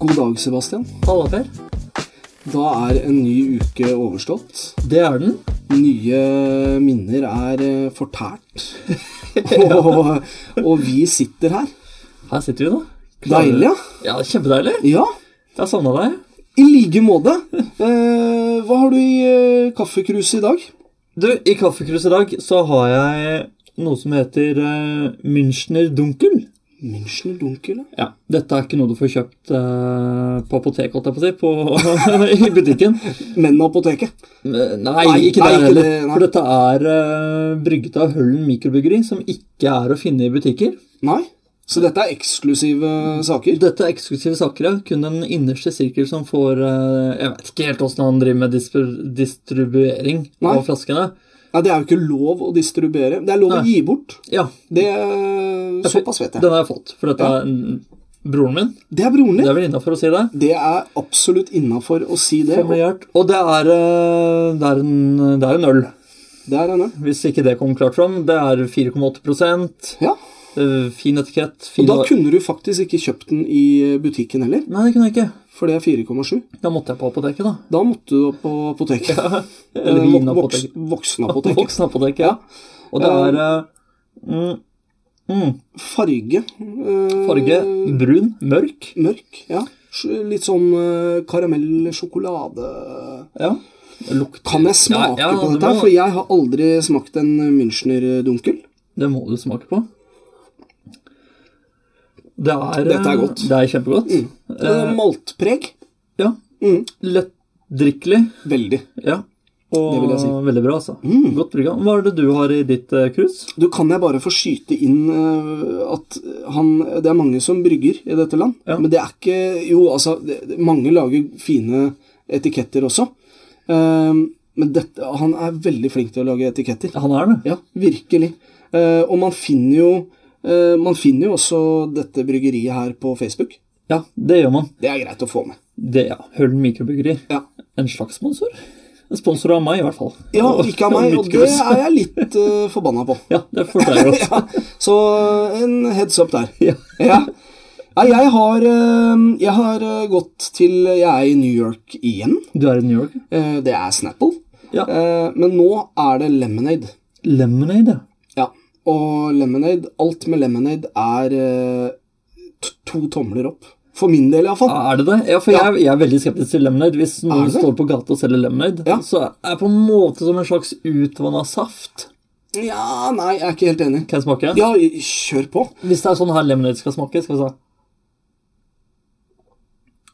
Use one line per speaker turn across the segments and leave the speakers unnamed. God dag, Sebastian.
Halla, Per.
Da er en ny uke overstått.
Det er den.
Nye minner er eh, fortært. og, og vi sitter her.
Her sitter vi, da.
Deilig, ja.
Ja, Kjempedeilig.
Ja,
Jeg har savna deg.
i like måte. Eh, hva har du i eh, kaffekruset i dag?
Du, i Kaffekrus i dag så har jeg noe som heter eh, Münchner Dunkel.
Münchner Dunkel, ja.
Ja, Dette er ikke noe du får kjøpt eh, på apoteket, holdt jeg på å si, på, i butikken.
Men apoteket.
Nei,
Nei,
ikke
nei,
det
ikke
heller.
det, nei.
For dette er eh, brygget av Høllen mikrobryggeri, som ikke er å finne i butikker.
Nei. Så dette er eksklusive saker.
Dette er eksklusive saker, ja. Kun den innerste sirkel som får eh, Jeg vet ikke helt åssen han driver med disper- distribuering
Nei.
av flaskene.
Nei, det er jo ikke lov å distribuere. Det er lov
Nei.
å gi bort.
Ja,
Det er Såpass vet jeg.
den har jeg fått, for dette
Ja.
er mm, broren min.
Det er broren
Det
din.
er vel innafor å si det.
Det er absolutt innafor å si det. og-
Familiært. Og det er, eh, det, er en, det er en øl,
Det er denne.
hvis ikke det kom klart fram. Det er 4,8
Ja.
eh, Fin etikett.
Og
Fin
da kunne du faktisk ikke kjøpt den i eh, butikken heller,
Nei, det kunne jeg ikke.
for det er 4,7.
Da måtte jeg på apoteket, da.
Da måtte du opp på apoteket.
Eller
Eh, vok-
vinapoteket.
voks- Voksenapoteket.
Voksenapoteket.
Ja.
Og det er eh, mm, mm,
Farge. eh,
farge brun, mørk.
Mørk. Ja. Sj- Litt sånn eh, karamell-sjokolade
Ja. Lukter
Kan jeg smake
Ja, ja,
på
du
dette? her?
må-
For jeg har aldri smakt en Münchner-dunkel.
Det må du smake på. Det er, eh,
Dette er godt.
Det er kjempegodt.
Eh, Maltpreg.
Ja.
Mm.
Lettdrikkelig.
Veldig.
Ja. Og
Det vil jeg si. Mm.
veldig bra, altså. Godt brygga. Hva er det du har i ditt eh, krus?
Du kan jeg bare få skyte inn eh, at han Det er mange som brygger i dette land.
Ja.
Men det er ikke Jo, altså, det, det- mange lager fine etiketter også. Ehm, men dette, han er veldig flink til å lage etiketter.
Han er det.
Ja, virkelig. Eh, og man finner jo eh, Man finner jo også dette bryggeriet her på Facebook.
Ja, det gjør man.
Det er greit å få med.
Det, ja. Høllen mikrobryggeri.
Ja,
En slags sponsor. En sponsor av meg, i hvert fall.
ja ikke av meg, og
mitt
det
krus.
er jeg litt eh, forbanna på.
Ja, det forstår jeg godt.
Ja, så eh, en heads up der.
ja.
Ja. Nei, jeg har, eh, jeg har eh, gått til Jeg er i New York igjen.
Du er i New York?
Eh, Det er Snapple.
Ja.
Eh, Men nå er det Lemonade.
Lemonade, ja.
Ja. Og Lemonade, alt med Lemonade er eh, t- to tomler opp. For min del, iallfall.
Er det det? Ja, for
Ja.
Jeg, jeg er veldig skeptisk til lemonade. Hvis
Er
noen
du det?
står på gata og selger lemonade,
Ja.
så er det på en måte som en slags utvanna saft.
Ja, nei, jeg er ikke helt enig.
Kan jeg smake?
Ja, kjør på.
Hvis det er sånn her lemonade skal smake, skal vi se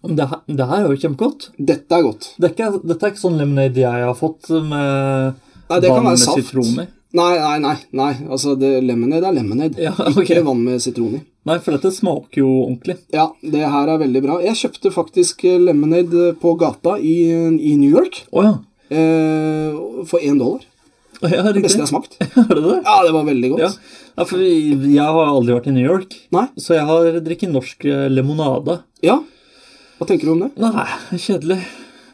Men det her, det her er jo kjempegodt.
Dette er godt.
Det er ikke, dette er ikke sånn lemonade jeg har fått med
Nei, det kan
vann
være
med
saft.
sitron i.
Nei, nei, nei. nei. Altså, det, lemonade er lemonade.
Ja, ok.
Ikke vann med sitron i.
Nei, for dette smaker jo ordentlig.
Ja, det her er veldig bra. Jeg kjøpte faktisk eh, lemonade på gata i, i New York
Å ja.
eh, for én dollar.
Å, ja.
Det beste
Riktig.
jeg har smakt.
Er det det?
Ja, det var veldig godt.
Ja. ja, for jeg har aldri vært i New York,
Nei?
så jeg har drikket norsk eh, limonade.
Ja. Hva tenker du om det?
Nei, kjedelig.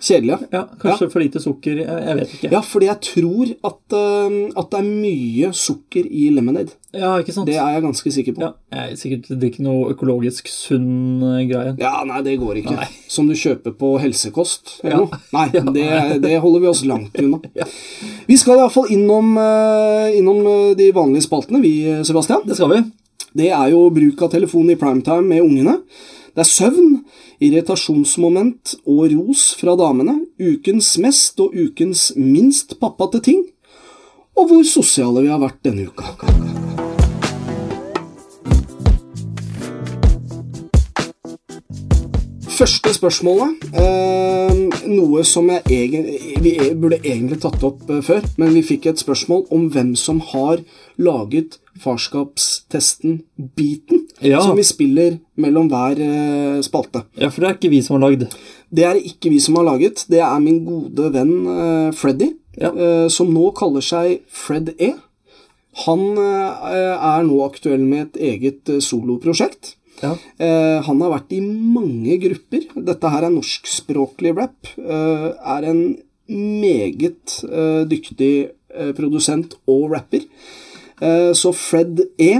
Kjedelig, ja.
Ja, kanskje for lite sukker. Jeg, jeg vet ikke.
Ja, fordi jeg tror at, eh, at det er mye sukker i lemonade.
Ja, ikke sant?
Det er jeg ganske sikker på.
Ja, jeg er sikkert drikker noe økologisk sunn eh, greie.
Ja, nei, det går ikke.
Nei.
Som du kjøper på helsekost eller
Ja.
noe. Nei, det, det holder vi oss langt unna. Vi skal iallfall innom, eh, innom eh, de vanlige spaltene, vi, eh, Sebastian.
Det skal vi.
Det er jo bruk av telefon i primetime med ungene. Det er søvn, irritasjonsmoment og ros fra damene. Ukens mest og ukens minst pappate ting. Og hvor sosiale vi har vært denne uka. Første spørsmålet, eh, noe som jeg egen, vi e- burde egentlig tatt opp eh, før, men vi fikk et spørsmål om hvem som har laget farskapstesten Beaten,
Ja.
som vi spiller mellom hver eh, spalte.
Ja, for det er ikke vi som har lagd.
Det er det ikke vi som har laget, det er min gode venn eh, Freddy,
Ja.
eh, som nå kaller seg Fred E. Han eh, er nå aktuell med et eget eh, soloprosjekt.
Ja.
Eh, han har vært i mange grupper. Dette her er norskspråklig rap. Eh, er en meget eh, dyktig eh, produsent og rapper. Eh, så Fred E.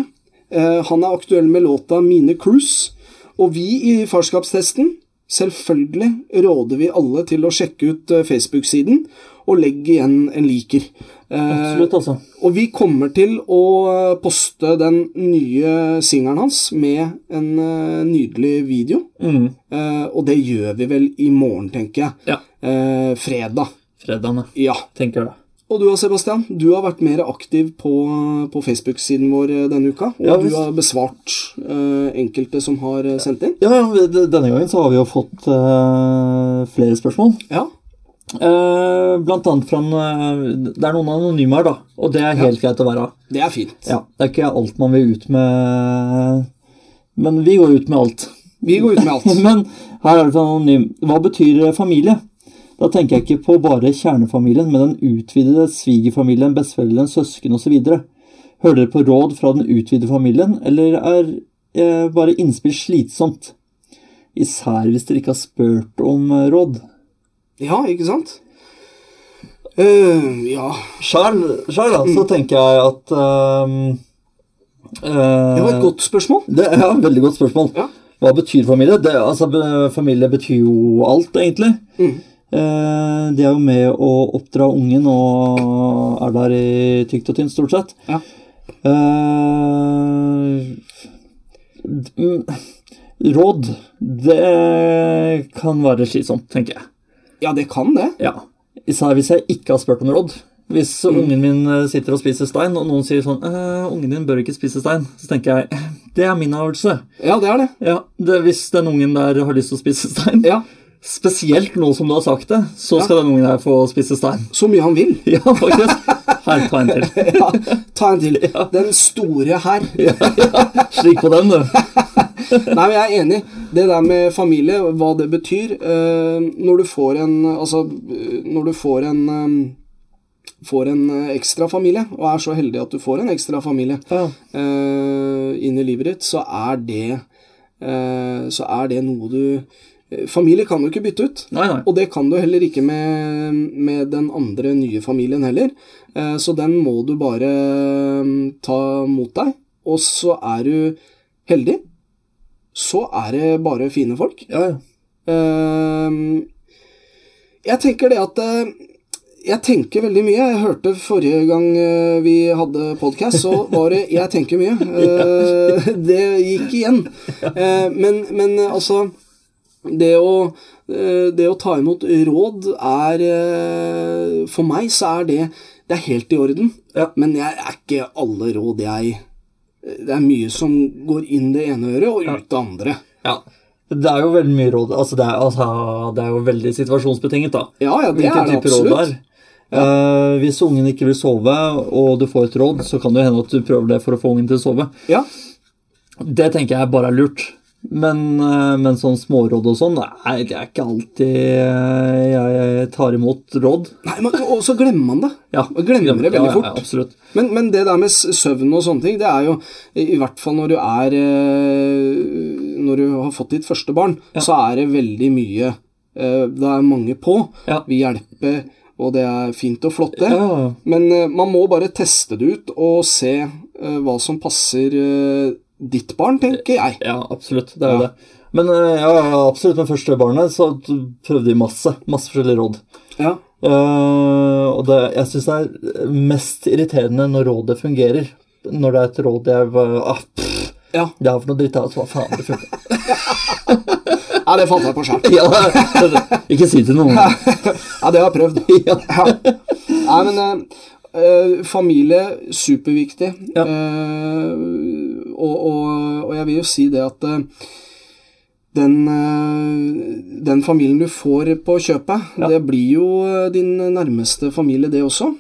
Eh, han er aktuell med låta 'Mine Cruise'. Og vi i Farskapstesten Selvfølgelig råder vi alle til å sjekke ut eh, Facebook-siden og legge igjen en liker. Eh,
Absolutt, altså.
og vi kommer til å eh, poste den nye singelen hans med en eh, nydelig video.
Mm.
Eh, og det gjør vi vel i morgen, tenker jeg.
Ja.
Eh, fredag.
Fredagene,
Ja.
tenker jeg.
Og du da, Sebastian? Du har vært mer aktiv på, eh, på Facebook-siden vår eh, denne uka. Og
Ja,
du
visst.
har besvart eh, enkelte som har eh, sendt inn.
Ja, ja, vi- d- denne gangen så har vi jo fått eh, flere spørsmål.
Ja.
Eh, blant annet fra en, eh, Det er noen anonyme her, da. Og det er helt greit å være.
Det er fint.
Ja, Det er ikke alt man vil ut med, men vi går ut med alt.
Vi går ut med alt.
Men her er det fra en anonym. Hva betyr eh, familie? Da tenker jeg ikke på bare kjernefamilien, men den utvidede svigerfamilien, besteforeldrene, søsken osv. Hører dere på råd fra den utvidede familien, eller er eh, bare innspill slitsomt? Især hvis dere ikke har spurt om eh, råd.
Ja, ikke sant? Eh, ja
Sjæl, sjæl da, så tenker jeg at ehm,
Det var
eh,
et godt spørsmål.
Det er ja, et veldig godt spørsmål.
Ja.
Hva betyr familie? Det, altså, be- familie betyr jo alt, egentlig.
Mhm.
Eh, de er jo med å oppdra ungen og er der i tykt og tynt, stort sett.
Ja.
Eh, d- mm, råd Det kan være slitsomt, tenker jeg.
Ja, Mm. det kan det.
Ja. Især hvis jeg ikke har spurt om råd. Hvis ungen min eh, sitter og spiser stein, og noen sier sånn eh, 'Ungen din bør ikke spise stein', så tenker jeg det er min avgjørelse.
Ja, det er det.
Ja, det, Hvis den ungen der har lyst til å spise stein,
Ja,
spesielt nå som du har sagt det, så skal den ungen her få spise stein.
Så mye han vil.
Ja, faktisk. Her, ta en til.
Ja, ta en til. Den store her.
Slik på den, du.
Nei, men jeg er enig. Det der med familie, hva det betyr eh, Når du får en Altså, eh, når du får en eh, Får en eh, ekstra familie, og er så heldig at du får en ekstra familie
Ja.
eh, inn i livet ditt, så er det eh, Så er det noe du eh, Familie kan du ikke bytte ut.
Nei, nei.
Eh, Og det kan du heller ikke med, med den andre nye familien heller. Eh, Så den må du bare mm, ta mot deg. Og så er du heldig. Så er det bare fine folk.
Ja, ja.
Eh, Jeg tenker det at eh, Jeg tenker veldig mye. Jeg hørte forrige gang eh, vi hadde podkast, så var det 'jeg tenker mye'. Eh, Det gikk igjen. Eh, Men, men eh, altså det å, eh, det å ta imot råd er eh, For meg så er det Det er helt i orden,
Ja.
men jeg er ikke alle råd jeg Det er mye som går inn det ene øret og ut det andre.
ja. Det er jo veldig mye råd. Altså, det er, altså, det er jo veldig situasjonsbetinget, da.
Ja, ja, det
Hvilken
er det
type råd det
absolutt.
er. Eh, hvis ungen ikke vil sove, og du får et råd, så kan det hende at du prøver det for å få ungen til å sove.
Ja,
Det tenker jeg bare er lurt. Men, eh, men sånn småråd og sånn, nei, det er ikke alltid eh, jeg tar imot råd.
Nei, men, og så glemmer man det.
Ja,
Man glemmer det
ja,
veldig
ja,
fort.
Ja, absolutt.
Men, men det der med s- søvn og sånne ting, det er jo I i hvert fall når du er eh, Når du har fått ditt første barn, så er det veldig mye eh, Det er mange på.
Ja.
Vi hjelper, og det er fint og flott, det.
Ja, ja, ja.
Men eh, man må bare teste det ut og se eh, hva som passer eh, ditt barn, tenker jeg.
ja, absolutt. Det er jo det. Men eh, ja, ja, absolutt med første barnet så prøvde vi masse. Masse forskjellige råd.
Ja.
Eh, og det, jeg syns det er mest irriterende når rådet fungerer. Når det er et råd jeg bare, ah, pff,
ja.
Det er for noe dritt, altså. Hva faen, det funker.
Nei, det fant jeg på sjøl.
Ja, det- det- ikke si til noen.
Ja, det har jeg prøvd.
Ja.
Ja. Nei, men eh, eh, familie, superviktig.
Ja.
Eh, og, og, og jeg vil jo si det at eh, den, eh, den familien du får på kjøpet, det blir jo eh, din nærmeste familie, det også.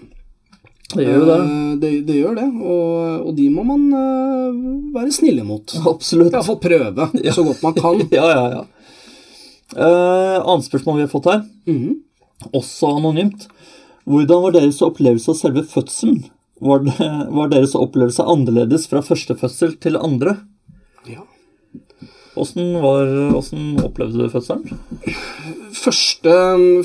Det gjør jo det.
Eh, det, det gjør det, og, og de må man eh, være snille mot.
Absolutt.
Iallfall prøve så godt man kan.
Ja, ja, ja. Eh, annet spørsmål vi har fått her,
Mhm.
også anonymt. Hvordan var deres opplevelse av selve fødselen? Var, det, var deres opplevelse annerledes fra første fødsel til andre?
Ja.
Åssen var- åssen opplevde du fødselen?
Første,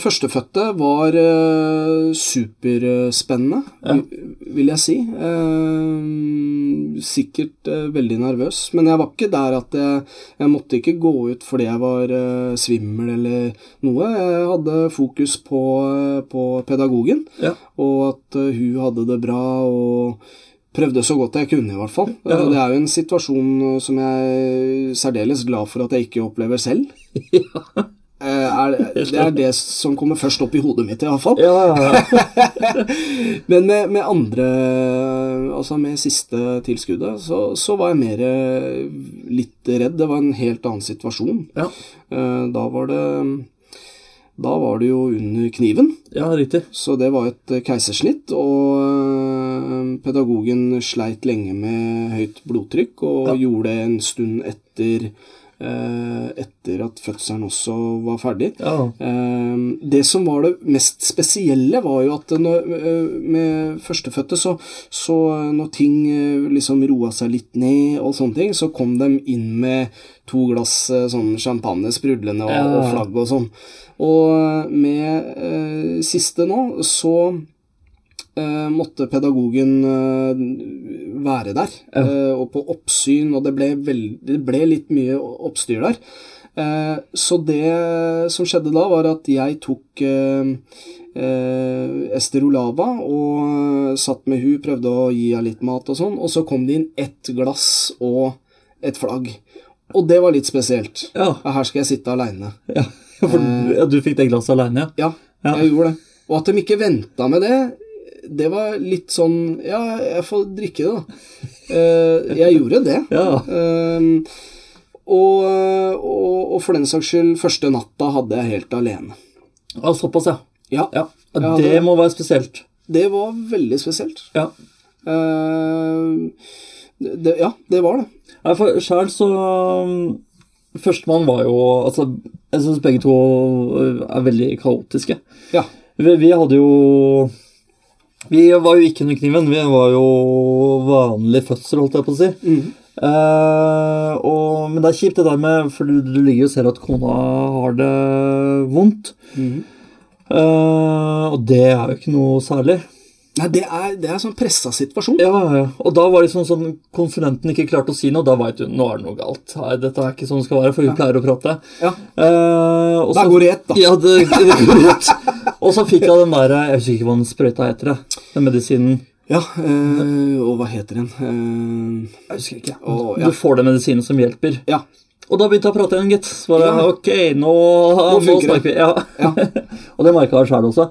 førstefødte var eh, superspennende,
Ja.
vil- vil jeg si. Eh, sikkert eh, veldig nervøs, men jeg var ikke der at jeg, jeg måtte ikke gå ut fordi jeg var eh, svimmel eller noe. Jeg hadde fokus på, eh, på pedagogen,
Ja.
og at eh, hun hadde det bra og prøvde så godt jeg kunne, i hvert fall.
Ja.
Eh, Det er jo en situasjon eh, som jeg er særdeles glad for at jeg ikke opplever selv. Eh, Er, det- det er det som kommer først opp i hodet mitt, i hvert fall.
Ja, ja, ja.
Men med, med andre Altså med siste tilskuddet, så, så var jeg mer eh, litt redd. Det var en helt annen situasjon.
Ja,
Eh, Da var det Da var det jo under kniven.
ja riktig.
Så det var et eh, keisersnitt, og eh, pedagogen sleit lenge med høyt blodtrykk, og gjorde det en stund etter, eh, etter at fødselen også var ferdig.
Ja.
Eh, Det som var det mest spesielle, var jo at når, eh, med førstefødte, så, så eh, når ting eh, liksom roa seg litt ned og sånne ting, så kom de inn med to glass eh, sånn champagne sprudlende og,
Ja.
og flagg og sånn. Og med eh, siste nå, så eh, måtte pedagogen eh, være der, eh, og på oppsyn, og det ble, veld, det ble litt mye oppstyr der. Eh, så det som skjedde da, var at jeg tok eh, eh, Esterolava og eh, satt med hun, prøvde å gi henne litt mat og sånn, og så kom det inn ett glass og et flagg. Og det var litt spesielt.
Ja.
Ja, Her skal jeg sitte aleine.
ja. For du, ja, du fikk det glasset alene, ja?
Ja,
Ja.
jeg gjorde det. Og at de ikke venta med det, det var litt sånn Ja, jeg får drikke det, da. Eh, jeg gjorde det.
Ja.
Eh, og, og, og for den saks skyld, første natta hadde jeg helt alene.
Ja, såpass, ja.
Ja,
ja.
Ja,
det,
det-
må være spesielt.
det var veldig spesielt.
Ja.
Eh, det, ja, det var det.
Nei, for sjæl så um, Førstemann var jo Altså, jeg syns begge to uh, er veldig kaotiske.
Ja.
Vi, vi hadde jo Vi var jo ikke under kniven. Vi var jo vanlig fødsel, holdt jeg på å si.
Mhm.
Eh, og, men det er kjipt det der med For du, du ligger jo og ser at kona har det vondt.
Mhm.
Eh, og det er jo ikke noe særlig.
Nei, det er, det er sånn pressa situasjon.
Ja, ja, ja. Og da var det sånn, sånn konsulenten ikke klarte å si noe. Da veit du nå er det noe galt. Nei, dette er ikke sånn det skal være, for hun pleier å prate.
Ja.
Eh, og
Da
så-
går det i ett, da.
Ja, det, det går i ett. Og så fikk jeg den der Jeg husker ikke hva den sprøyta heter, jeg. den medisinen.
Ja, eh, og hva heter den? Eh,
Jeg husker ikke.
Å, ja.
Du får den medisinen som hjelper.
ja.
Og da begynte jeg å prate igjen, gitt. Så var det,
Ja.
Ok, nå, nå,
funker
snakker vi. Ja.
Ja.
og det merka jeg sjæl også.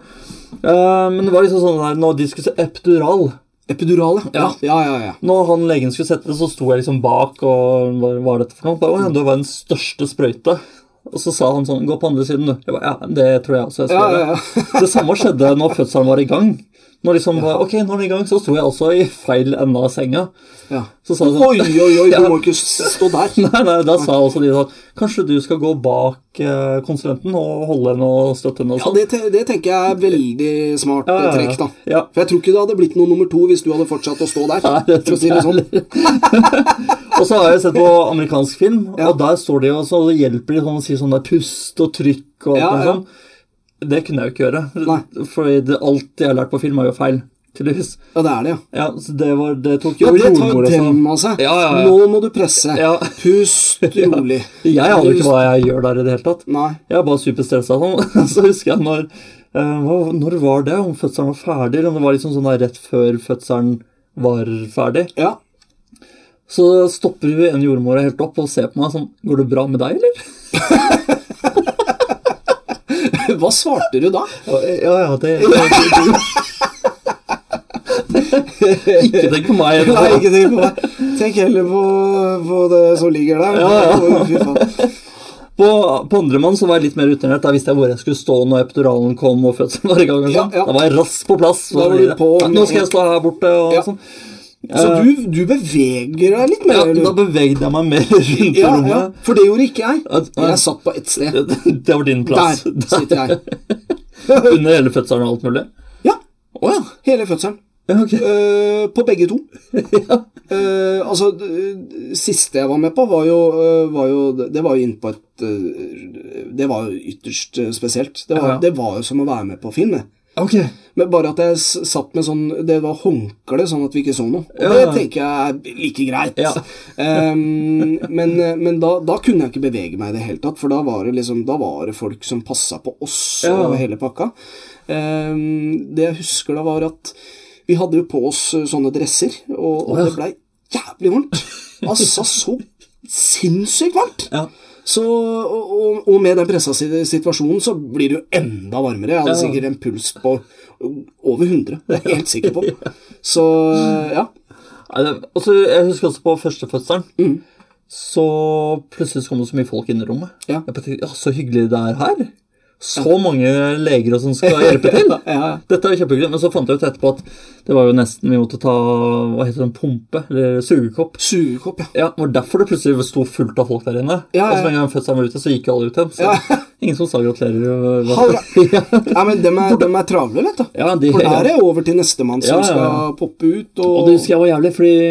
Eh, men det var liksom sånn der når de skulle se epidural
Epidural, ja.
Ja.
Ja, ja, ja.
Når han legen skulle sette det, så sto jeg liksom bak og hva var dette for noe? Bare, «Å ja, det var den største sprøyte. Og så sa han sånn 'Gå på andre siden, du'. Jeg bare, ja, det tror jeg også jeg skal
Ja, ja,
gjøre. det samme skjedde når fødselen var i gang. Når liksom, bare, ok, nå er den i gang, Så sto jeg også i feil ende av senga.
ja.
Så sa jeg sånn
Oi, oi, oi, du
Ja.
må ikke stå der.
Nei, nei, Da sa også de sånn Kanskje du skal gå bak eh, konsulenten og holde henne og støtte henne og
Ja,
sånn.
det, te- det tenker jeg er veldig smart
Ja, ja,
eh,
ja.
trekk, da.
Ja.
For jeg tror ikke det hadde blitt noe nummer to hvis du hadde fortsatt å stå der.
Nei, det
for å si det sånn.
Og så har jeg sett på amerikansk film, og der står de jo så hjelper de sånn og sier sånn der pust og trykk og alt
Ja, ja.
mulig sånn. Det kunne jeg jo ikke gjøre.
Nei.
For det, alt jeg har lært på film, er jo feil. Tydeligvis.
Ja, det er det, ja.
Ja, så det, var, det tok
Ja,
jo
det tar
jordmora sa.
dem av seg.
sånn. Ja, ja, ja.
Nå må du presse.
Ja.
Pust rolig.
Jeg aner ikke hva jeg gjør der i det hele tatt.
Nei.
Jeg er bare superstressa sånn. Så husker jeg når eh, hva, Når var det? Om fødselen var ferdig? Eller om det var liksom sånn der rett før fødselen var ferdig?
Ja.
Så stopper hun en jordmora helt opp og ser på meg sånn Går det bra med deg, eller?
Hva svarte du da?
Ja, ja, ja det, Ikke tenk på meg.
Nei, ikke tenk på meg. Tenk heller på, på det som ligger der. Å, Fy faen.
På, på andremann så var jeg litt mer utenrett. Da visste jeg hvor jeg skulle stå når epiduralen kom og fødselen var i gang.
Ja,
og sånn.
ja.
Da var jeg raskt på plass.
Da var du
videre.
på
Ja, nå skal jeg stå her borte og
Ja.
sånn.
Så du, du beveger deg litt mer?
Ja,
eller?
da bevegde jeg meg mer rundt i
ja, ja,
rommet.
for det gjorde ikke jeg.
Nei.
Jeg satt på ett sted.
Det var din
Der
plass.
sitter jeg.
Under hele fødselen og alt mulig.
Ja,
Å ja.
hele fødselen.
Ja, ok.
eh, på begge to. Eh, altså, d- siste jeg var med på, var jo, eh, var jo Det var jo innpå et eh, Det var jo ytterst eh, spesielt. Det var,
Ja.
det var jo som å være med på film. det.
Ok.
Men bare at jeg s- satt med sånn Det var håndkle, sånn at vi ikke så noe. Og
Ja.
det tenker jeg er like greit.
Ja.
Ehm, men men da, da kunne jeg ikke bevege meg i det hele tatt, for da var det, liksom, da var det folk som passa på oss
Ja.
og hele pakka. Ehm, det jeg husker da, var at vi hadde jo på oss eh, sånne dresser, og, og
Å, ja.
det blei jævlig varmt. Altså, så sinnssykt varmt!
Ja.
Så, og, og- og med den pressa si- situasjonen så blir det jo enda varmere. Jeg hadde
Ja.
sikkert en puls på over 100, det er jeg helt sikker på. Så ja.
Nei, det- Altså, jeg husker også på førstefødselen. Så plutselig så kom det så mye folk inn i rommet.
Ja.
Jeg bare tenkte, ja, Så hyggelig det er her. Så mange leger og sånn skal hjelpe til.
ja.
Dette er jo kjempehyggelig. Men så fant jeg ut etterpå at det var jo nesten Vi måtte ta hva heter det, pumpe, eller sugekopp.
Sugekopp, ja.
Ja, Det var derfor det plutselig sto fullt av folk der inne.
Ja, ja,
Og så lenge fødselen var ute, så gikk jo alle ut igjen. Så ingen som sa gratulerer. og hva-
Ha det.
ja.
Nei, men dem er, dem er travle, vet du.
Ja, de-
For der er over til nestemann som
Ja, ja, ja.
skal poppe ut. Og,
Og det husker jeg var jævlig, fordi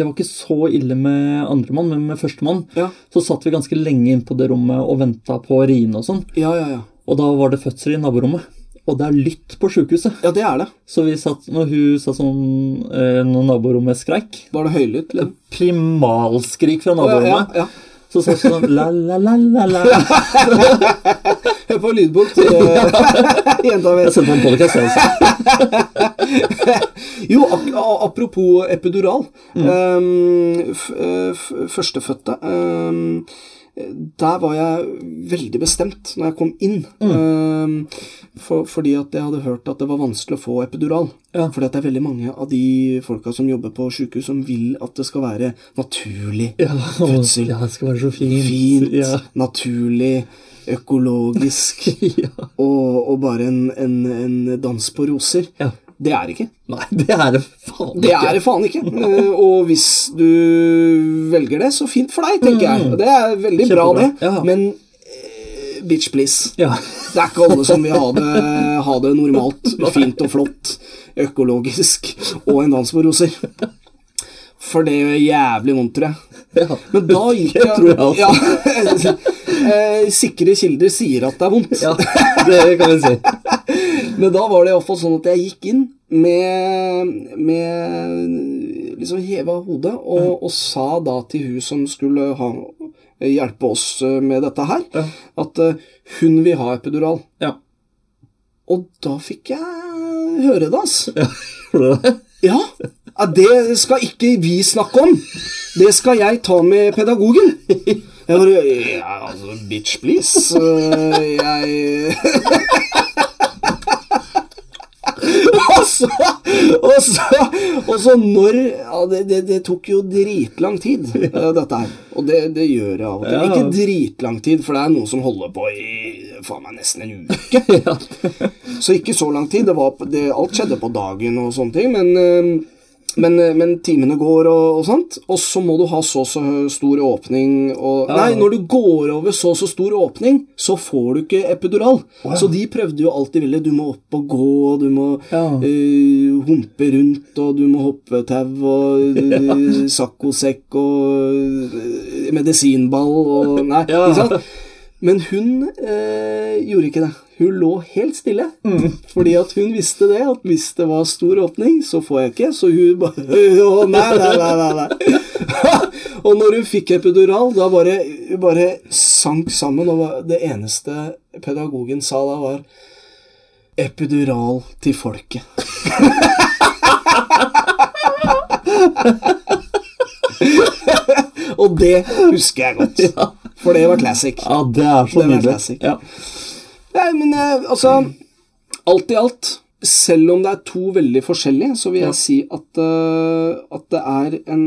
det var ikke så ille med andremann, men med førstemann
Ja.
så satt vi ganske lenge inne på det rommet og venta på riene og sånn.
Ja, ja, ja.
Og da var det fødsel i naborommet. Og det er lytt på sjukehuset.
Ja, det er det.
Så vi satt, når hun satt sånn eh, Når naborommet skreik
Var det høylytt? eller?
Primalskrik
Ja,
fra
ja,
naborommet.
ja.
Så satt hun sånn la-la-la-la-la.
Hør på lydbok til eh, jenta mi.
Jeg sendte en podcast, jeg også.
Jo, ak- a- apropos epidural.
Mm.
Ehm, f eh, f- førstefødte. ehm, der var jeg veldig bestemt når jeg kom inn.
Mm.
Ehm, for, fordi at jeg hadde hørt at det var vanskelig å få epidural.
Ja.
Fordi at det er veldig mange av de folka som jobber på sjukehus, som vil at det skal være naturlig
Ja,
fødsel.
ja, det skal være så fint.
Fint,
Ja.
naturlig, økologisk
ja.
og, og bare en, en, en dans på roser.
ja.
Det er det ikke.
Nei, det er det faen
Det er det faen ikke. Eh, Og hvis du velger det, så fint for deg, tenker jeg. Og Det er veldig bra, det.
Mm. Kjempebra, ja.
Men eh, bitch, please.
Ja.
Det er ikke alle som vil ha det, ha det normalt, fint og flott, økologisk og en dans på roser. For det gjør jævlig vondt, tror jeg.
ja.
Men da gikk
Det
jeg,
tror jeg også.
Ja, eh, Sikre kilder sier at det er vondt.
Ja, det kan vi si.
Men da var det iallfall sånn at jeg gikk inn med, med liksom heva hodet og, og sa da til hun som skulle ha, hjelpe oss eh, med dette her,
Ja.
at eh, hun vil ha epidural.
Ja.
Og da fikk jeg høre det, altså.
Ja, gjorde du det?
Ja. ja, det skal ikke vi snakke om. Det skal jeg ta med pedagogen. Jeg bare ja, altså, Bitch, please. Eh, Jeg og, så, og, så, og så når ja, det, det, det tok jo dritlang tid, eh, dette her. Og det, det gjør jeg av og til.
Ja.
Ikke dritlang tid, for det er noen som holder på i faen meg nesten en uke.
Ja.
Så ikke så lang tid. Det var, på- det, alt skjedde på dagen og sånne ting, men, øhm, men, øh, men timene går og, og sånt. Og så må du ha så så hø- stor åpning og
Ja.
Nei, når du går over så så stor åpning, så får du ikke epidural. Så de prøvde jo alt de ville. Du må opp og gå, og du må
Ja.
øh, humpe rundt, og du må hoppe tau, og øh, saccosekk og øh, medisinball og Nei,
Ja.
ikke sant? Men hun eh, gjorde ikke det. Hun lå helt stille. Fordi at hun visste det, at hvis det var stor åpning, så får jeg ikke. Så hun bare Å, nei, nei, nei, nei, nei. og når hun fikk epidural, da bare, hun bare sank sammen. Og var- det eneste pedagogen sa da, var Epidural til folket. og det husker jeg godt. For det var classic.
ja, det er så
Det er
nydelig.
classic.
Ja.
Nei, men eh, altså Alt i alt, selv om det er to veldig forskjellige, så vil jeg si at, eh, at det er en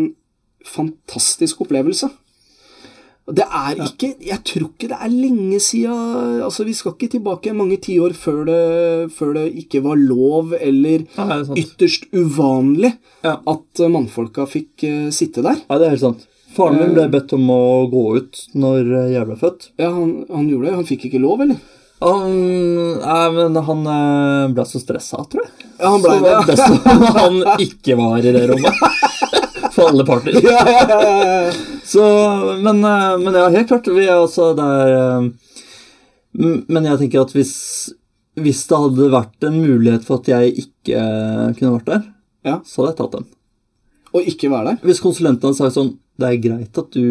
fantastisk opplevelse. Og Det er ikke Jeg tror ikke det er lenge sia altså Vi skal ikke tilbake mange tiår før, det- før det ikke var lov eller
Ja, det er sant.
ytterst uvanlig
Ja.
at eh, mannfolka fikk eh, sitte der.
ja, det er helt sant. Faren min ble bedt om å gå ut når eh, jeg ble født.
Ja, han, han gjorde det. Han fikk ikke lov, eller?
Ja, Um, nei, men han eh, ble så stressa, tror jeg.
Ja, han ble
så
det, ja.
best om han ikke var i det rommet. For alle parter.
Ja, ja, ja, ja, ja.
Så, men, eh, men ja, helt klart. Vi er altså der eh, m- Men jeg tenker at hvis, hvis det hadde vært en mulighet for at jeg ikke eh, kunne vært der,
Ja.
så hadde jeg tatt den.
Og ikke være der.
Hvis konsulenten hadde sagt sånn Det er greit at du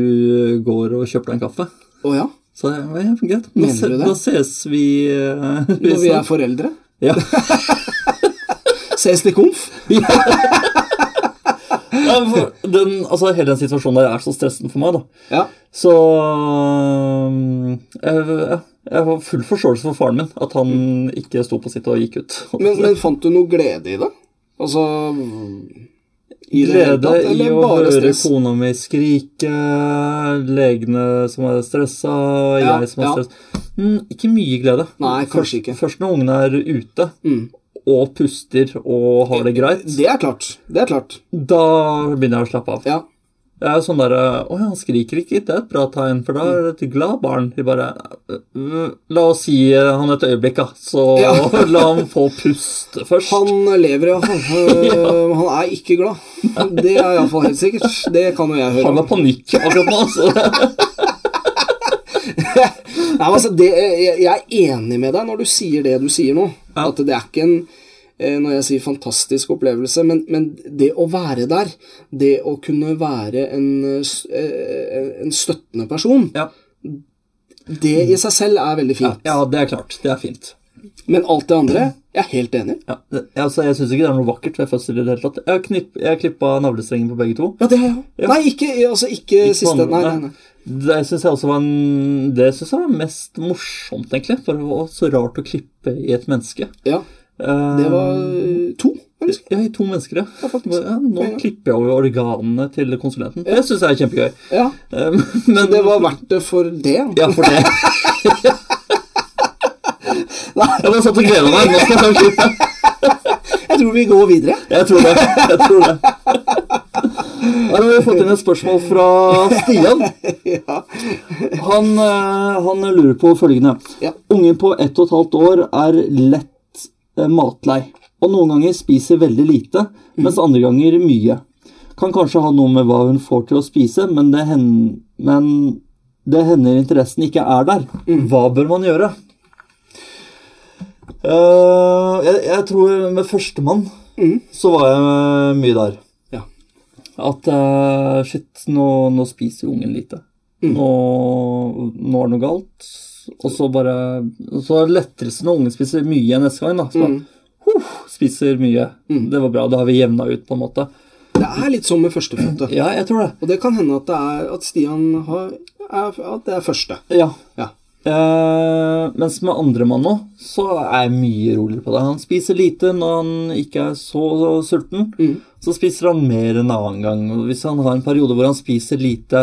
eh, går og kjøper deg en kaffe.
Å ja.
Så hadde jeg, ja, greit. Da,
Mener
se,
du det?
da ses vi eh,
Når vi er
snart.»
foreldre.
ja.
Ses til komf.
Ja, for den, altså, hele den situasjonen der er så stressende for meg, da.
Ja.
Så um, jeg, ja, jeg har full forståelse for faren min, at han ikke sto på sitt og gikk ut.
Men, men fant du noe glede i det? Altså i det hele
Glede
tatt,
i
eller
å
bare
høre
stress?
kona mi skrike, legene som er stressa,
Ja,
jeg som er
ja.
stressa mm, Ikke mye glede.
Nei, kanskje ikke. Mm.
Først når ungene er ute og puster og har det greit,
Det er klart. Det er klart.
da begynner jeg å slappe av.
Ja.
Det er jo sånn der, Å ja, han skriker ikke, det er et bra tegn, for da er det et glad barn. De bare «Øh, La oss gi han et øyeblikk, da. Så
Ja.
la ham få puste først.
Han lever i hvert fall. Øh, Han er ikke glad. Det er iallfall helt sikkert. Det kan jo jeg høre.
Han har panikk akkurat nå, altså.
Nei, men altså, det, jeg, jeg er enig med deg når du sier det du sier nå.
Ja.
At det er ikke en eh, når jeg sier fantastisk opplevelse, men, men det å være der, det å kunne være en, eh, s- eh, en støttende person,
Ja.
det i seg selv er veldig fint.
ja, det er klart. Det er fint.
Men alt det andre, jeg er helt enig.
Ja, det, altså, Jeg syns ikke det er noe vakkert ved fødsel i det hele tatt. Jeg, knipp, jeg klippa navlestrengen på begge to.
Ja, det har jeg òg. Nei, ikke, altså, ikke, siste.
Vann-
Nei, nei, nei.
Det syns jeg også var en, det synes jeg var mest morsomt, egentlig. For det var så rart å klippe i et menneske.
Ja,
Eh,
det var eh, to. eller?
Ja, i to mennesker, ja.
faktisk.
ja nå
Ja.
klipper jeg over organene til konsulenten. Det syns jeg er kjempegøy.
Ja,
Um, Men
det var verdt det for det.
Ja, for det. Jeg bare satt og gleda meg. Nå skal jeg ta en klipp.
Jeg tror vi går videre.
Jeg tror det. Jeg tror det. Her har vi fått inn et spørsmål fra Stian.
Ja.
Han, eh, han lurer på følgende.
Ja.
Ungen på ett og et halvt år er lett eh, matlei, og noen ganger spiser veldig lite, mens andre ganger mye. Kan kanskje ha noe med hva hun får til å spise, men det, hen, men det hender interessen ikke er der. Hva bør man gjøre? Eh, jeg, jeg tror med førstemann så var jeg mye der.
Ja.
At eh, shit, nå, nå spiser ungen lite. Nå, nå er det noe galt. Og så bare Så er det lettere når ungen spiser mye neste gang, da. Så bare, «Huh, spiser mye. Det var bra, da har vi jevna ut, på en måte.
Det er litt som med førstefødte.
Ja, jeg tror det.
Og det kan hende at, det er, at Stian har er, At det er første.
Ja.
Ja.
Eh, mens med andremann nå, så er jeg mye roligere på det. Han spiser lite når han ikke er så, sulten.
Mm.
Så spiser han mer en annen gang. Og hvis han har en periode hvor han spiser lite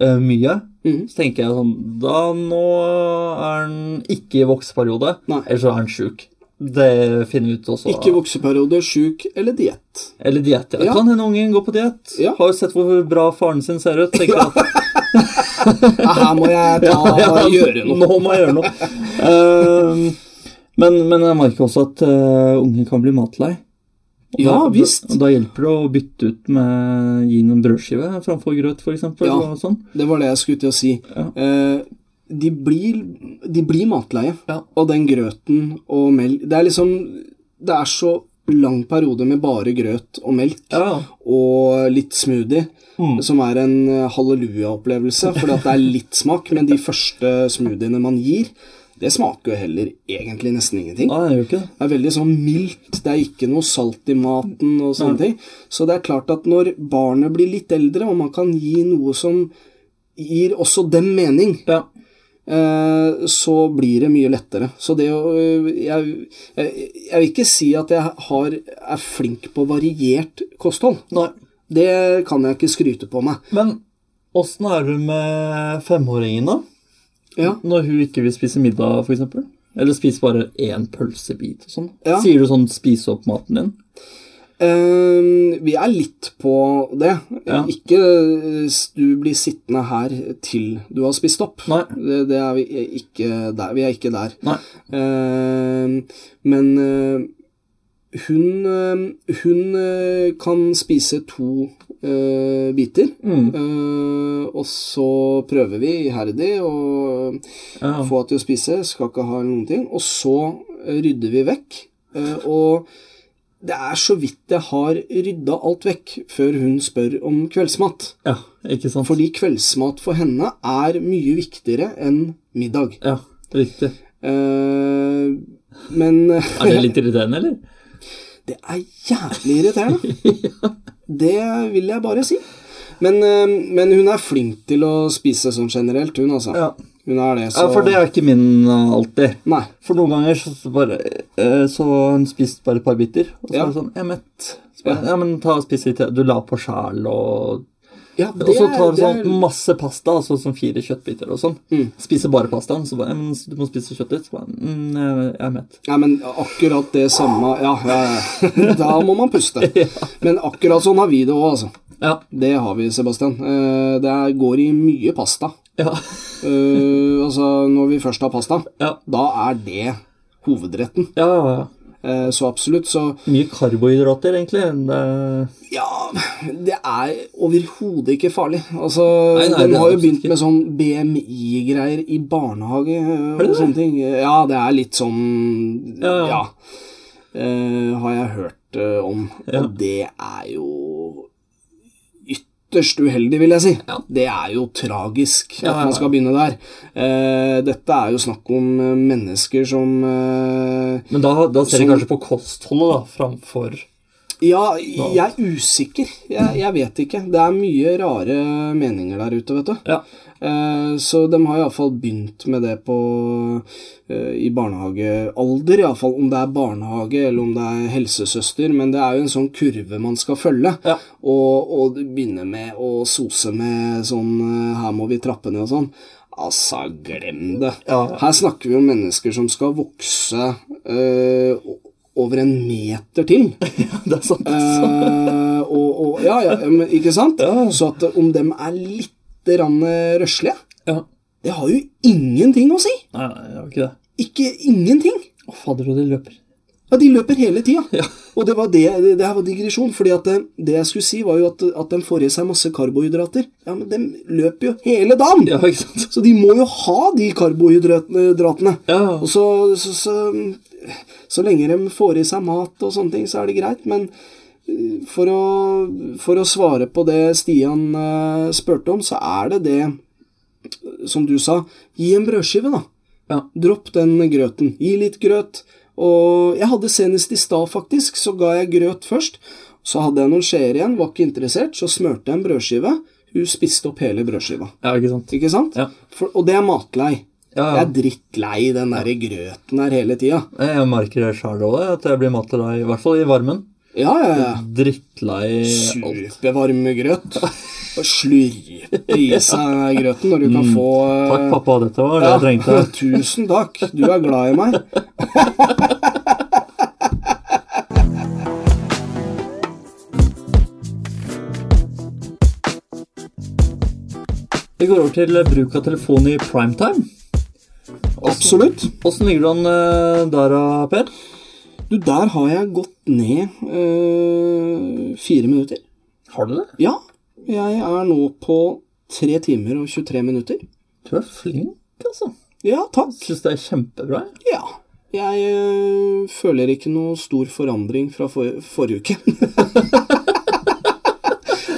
eh, mye,
Mm.
så tenker jeg sånn Da nå er han ikke i vokseperiode,
Nei.
eller så er han sjuk. Det finner vi ut også.
Ikke vokseperiode, sjuk eller diett.
Eller diett. Ja.
Ja.
Kan hende ungen går på diett.
Ja.
Har jo sett hvor bra faren sin ser ut. Tenker at
Ja, her må jeg ta, gjøre noe.
Nå må jeg gjøre noe. Ehm, men, men jeg merker også at eh, ungen kan bli matlei. Og
Ja,
da,
visst.
Da, da hjelper det å bytte ut med gi noen brødskive framfor grøt, f.eks.
Ja.
og Sånn.
Det var det jeg skulle til å si.
Ja.
Eh, de, blir, de blir matleie.
Ja.
Og den grøten og melk Det er liksom Det er så lang periode med bare grøt og melk
Ja.
og litt smoothie.
Mm.
Som er en eh, halleluja-opplevelse, fordi at det er litt smak. Men de første smoothiene man gir, det smaker jo heller egentlig nesten ingenting.
Nei, jeg gjør ikke det.
Det er veldig sånn mildt, det er ikke noe salt i maten og sånne ting. Så det er klart at når barnet blir litt eldre, og man kan gi noe som gir også dem mening,
Ja.
eh, så blir det mye lettere. Så det å øh, jeg, jeg, jeg vil ikke si at jeg har, er flink på variert kosthold.
Nei.
Det kan jeg ikke skryte på meg.
Men åssen er det med femåringen, da?
Ja.
Når hun ikke vil spise middag, f.eks.? Eller spiser bare én pølsebit og sånn?
Ja.
Sier du sånn 'spis opp maten din'?
Eh, vi er litt på det.
Ja.
Ikke eh, du blir sittende her til du har spist opp.
Nei.
Det, det er vi ikke der. Vi er ikke der.
Nei.
Eh, men eh, hun, eh, hun eh, kan spise to eh, biter.
Mm.
Eh, og så prøver vi iherdig å
Ja.
få henne til å spise. Skal ikke ha noen ting. Og så eh, rydder vi vekk. eh, og det er så vidt jeg har rydda alt vekk før hun spør om kveldsmat.
ja, ikke sant?
Fordi kveldsmat for henne er mye viktigere enn middag.
Ja, riktig.
Eh, men
Er det litt irriterende, eller?
Det er jævlig irriterende. Det vil jeg bare si. Men, eh, men hun er flink til å spise sånn generelt, hun altså.
Ja.
Hun er det, så
ja, for det er ikke min eh, alltid.
Nei.
For noen ganger så, så bare eh, Så har hun spist bare et par biter, og så
Ja.
er det sånn 'Jeg er mett'. Så bare, ja, men ta og spis litt. til. Du la på sjæl og
Ja, det,
Og så tar hun
det
sånn masse pasta, altså sånn fire kjøttbiter og sånn.
Mm.
Spiser bare pastaen, så bare ja, men 'Du må spise kjøtt litt'. Så bare mm, 'Jeg er mett'.
Nei, men akkurat det samme Ja, ja, ja. da må man puste. Men akkurat sånn har vi det òg, altså.
Ja.
Det har vi, Sebastian. Eh, Det er- går i mye pasta.
Ja.
Eh, Altså, når vi først har pasta,
Ja.
da er det hovedretten.
ja, ja, ja.
Eh, Så absolutt, så
Mye karbohydrater, egentlig. Det...
Ja, det er overhodet ikke farlig. Altså,
Nei, nei, det
De
er
har jo
absolutt
begynt
ikke.
med sånn BMI-greier i barnehage øh,
det
og
det?
sånne ting. Ja, det er litt sånn Ja,
Ja, ja.
eh, har jeg hørt eh, om.
Ja.
Og det er jo ytterst uheldig, vil jeg si.
Ja.
Det er jo tragisk
Ja,
at
ja,
man skal
ja.
begynne der. Eh, dette er jo snakk om eh, mennesker som eh,
Men da, da ser de
Som-
kanskje på kostholdet, da, framfor
Ja, jeg er usikker. Jeg, jeg vet ikke. Det er mye rare meninger der ute, vet du.
Ja.
Eh, så de har iallfall begynt med det på eh, i barnehagealder, iallfall. Om det er barnehage eller om det er helsesøster, men det er jo en sånn kurve man skal følge.
Ja.
Og, og begynne med å sose med sånn eh, Her må vi trappe ned og sånn. Altså, glem det.
Ja, ja.
Her snakker vi om mennesker som skal vokse eh, o- over en meter til.
Det er sant.
Eh, og, og, ja, ja, men ikke sant?
Ja.
Så at om dem er litt rann, eh, røslige,
Ja.
det har jo ingenting å si!
Nei, nei, det var ikke det.
Ikke ingenting!
Å, fader, og de løper.
Ja, De løper hele tida.
Ja.
Og det var det, det, det her var digresjon, fordi at det, det jeg skulle si, var jo at, at de får i seg masse karbohydrater. Ja, men de løper jo hele dagen!
Ja, ikke sant?
Så de må jo ha de karbohydratene.
Ja.
Og så, så, så, så lenge de får i seg mat og sånne ting, så er det greit. Men eh, for å, for å svare på det Stian eh, spurte om, så er det det som du sa. Gi en brødskive, da.
Ja.
Dropp den grøten. Gi litt grøt. Og jeg hadde senest i stad, faktisk, så ga jeg grøt først. Så hadde jeg noen skjeer igjen, var ikke interessert, så smørte jeg en brødskive. Hun spiste opp hele brødskiva.
ja, ikke sant.
Ikke sant?
Ja.
For, og det er matlei.
Ja,
Jeg
ja.
er drittlei den der grøten her hele tida.
Jeg merker det sjæl òg, at jeg blir mattlei, i hvert fall i varmen.
Ja, ja, ja.
Drittlei alt.
Supervarme grøt. Og slurpe i seg grøten når du kan få eh,
Mm. Takk, pappa, dette var det jeg trengte.
ja, Tusen takk. Du er glad i meg.
Vi går over til eh, bruk av telefon i primetime.
Absolutt.
Åssen ligger du an eh, der, eh, Per?
Du, der har jeg gått ned eh, fire minutter.
Har du det?
Ja, jeg er nå på tre timer og 23 minutter.
Du er flink, altså.
Ja, takk.
Syns det er kjempebra. jeg.
Ja. Jeg øh, føler ikke noe stor forandring fra for, forrige uke.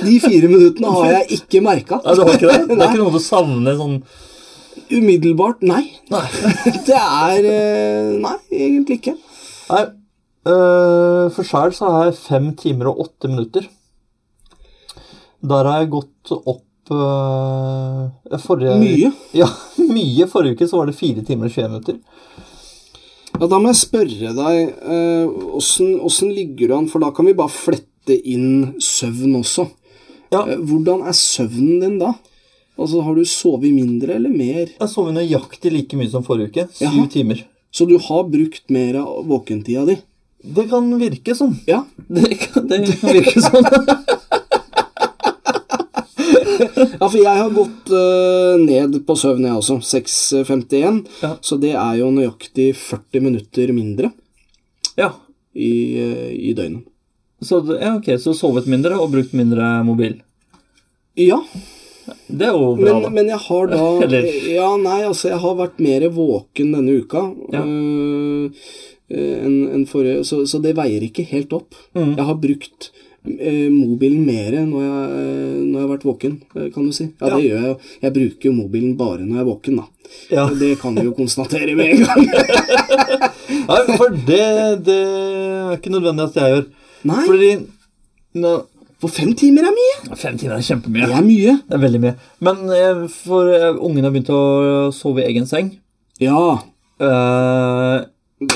De fire minuttene har jeg ikke merka.
Nei, det var ikke det? Det er ikke noe du savner sånn
Umiddelbart, nei.
Nei.
Det er øh, Nei, egentlig ikke.
Nei. øh, for sjæl så har jeg fem timer og åtte minutter. Der har jeg gått opp øh, forrige
Mye.
Ja, mye. Forrige uke så var det fire timer og 21 minutter.
Ja, da må jeg spørre deg eh, åssen ligger du an, for da kan vi bare flette inn søvn også.
Ja.
Eh, Hvordan er søvnen din da? Altså, Har du sovet mindre eller mer?
Jeg sov nøyaktig like mye som forrige uke. Syv
Jaha.
timer.
Så du har brukt mer av våkentida di?
Det kan virke sånn.
Ja,
Det kan, det kan virke sånn.
Ja, for jeg har gått eh, ned på søvn, jeg også. 6.51.
Ja.
Så det er jo nøyaktig 40 minutter mindre
Ja.
i, eh, i døgnet.
Så, det- ja, ok, så sovet mindre og brukt mindre mobil.
Ja,
Det er jo bra,
men,
da.
men jeg har da
Eller-
Ja, nei, altså, jeg har vært mer våken denne uka
Ja.
eh, enn enn forrige, så, så det veier ikke helt opp.
Mhm.
Jeg har brukt eh, mobilen mer når jeg, eh, når jeg har vært våken, eh, kan du si. Ja, det gjør jeg jo. Jeg bruker jo mobilen bare når jeg er våken, da.
Ja.
Det kan vi jo konstatere med en gang.
Nei, for det, det er ikke nødvendig at jeg gjør.
Nei.
Fordi nå,
For fem timer er mye!
Fem timer er kjempemye.
Det er mye.
Det er veldig mye. Men eh, for eh, ungene har begynt å sove i egen seng.
Ja.
Eh,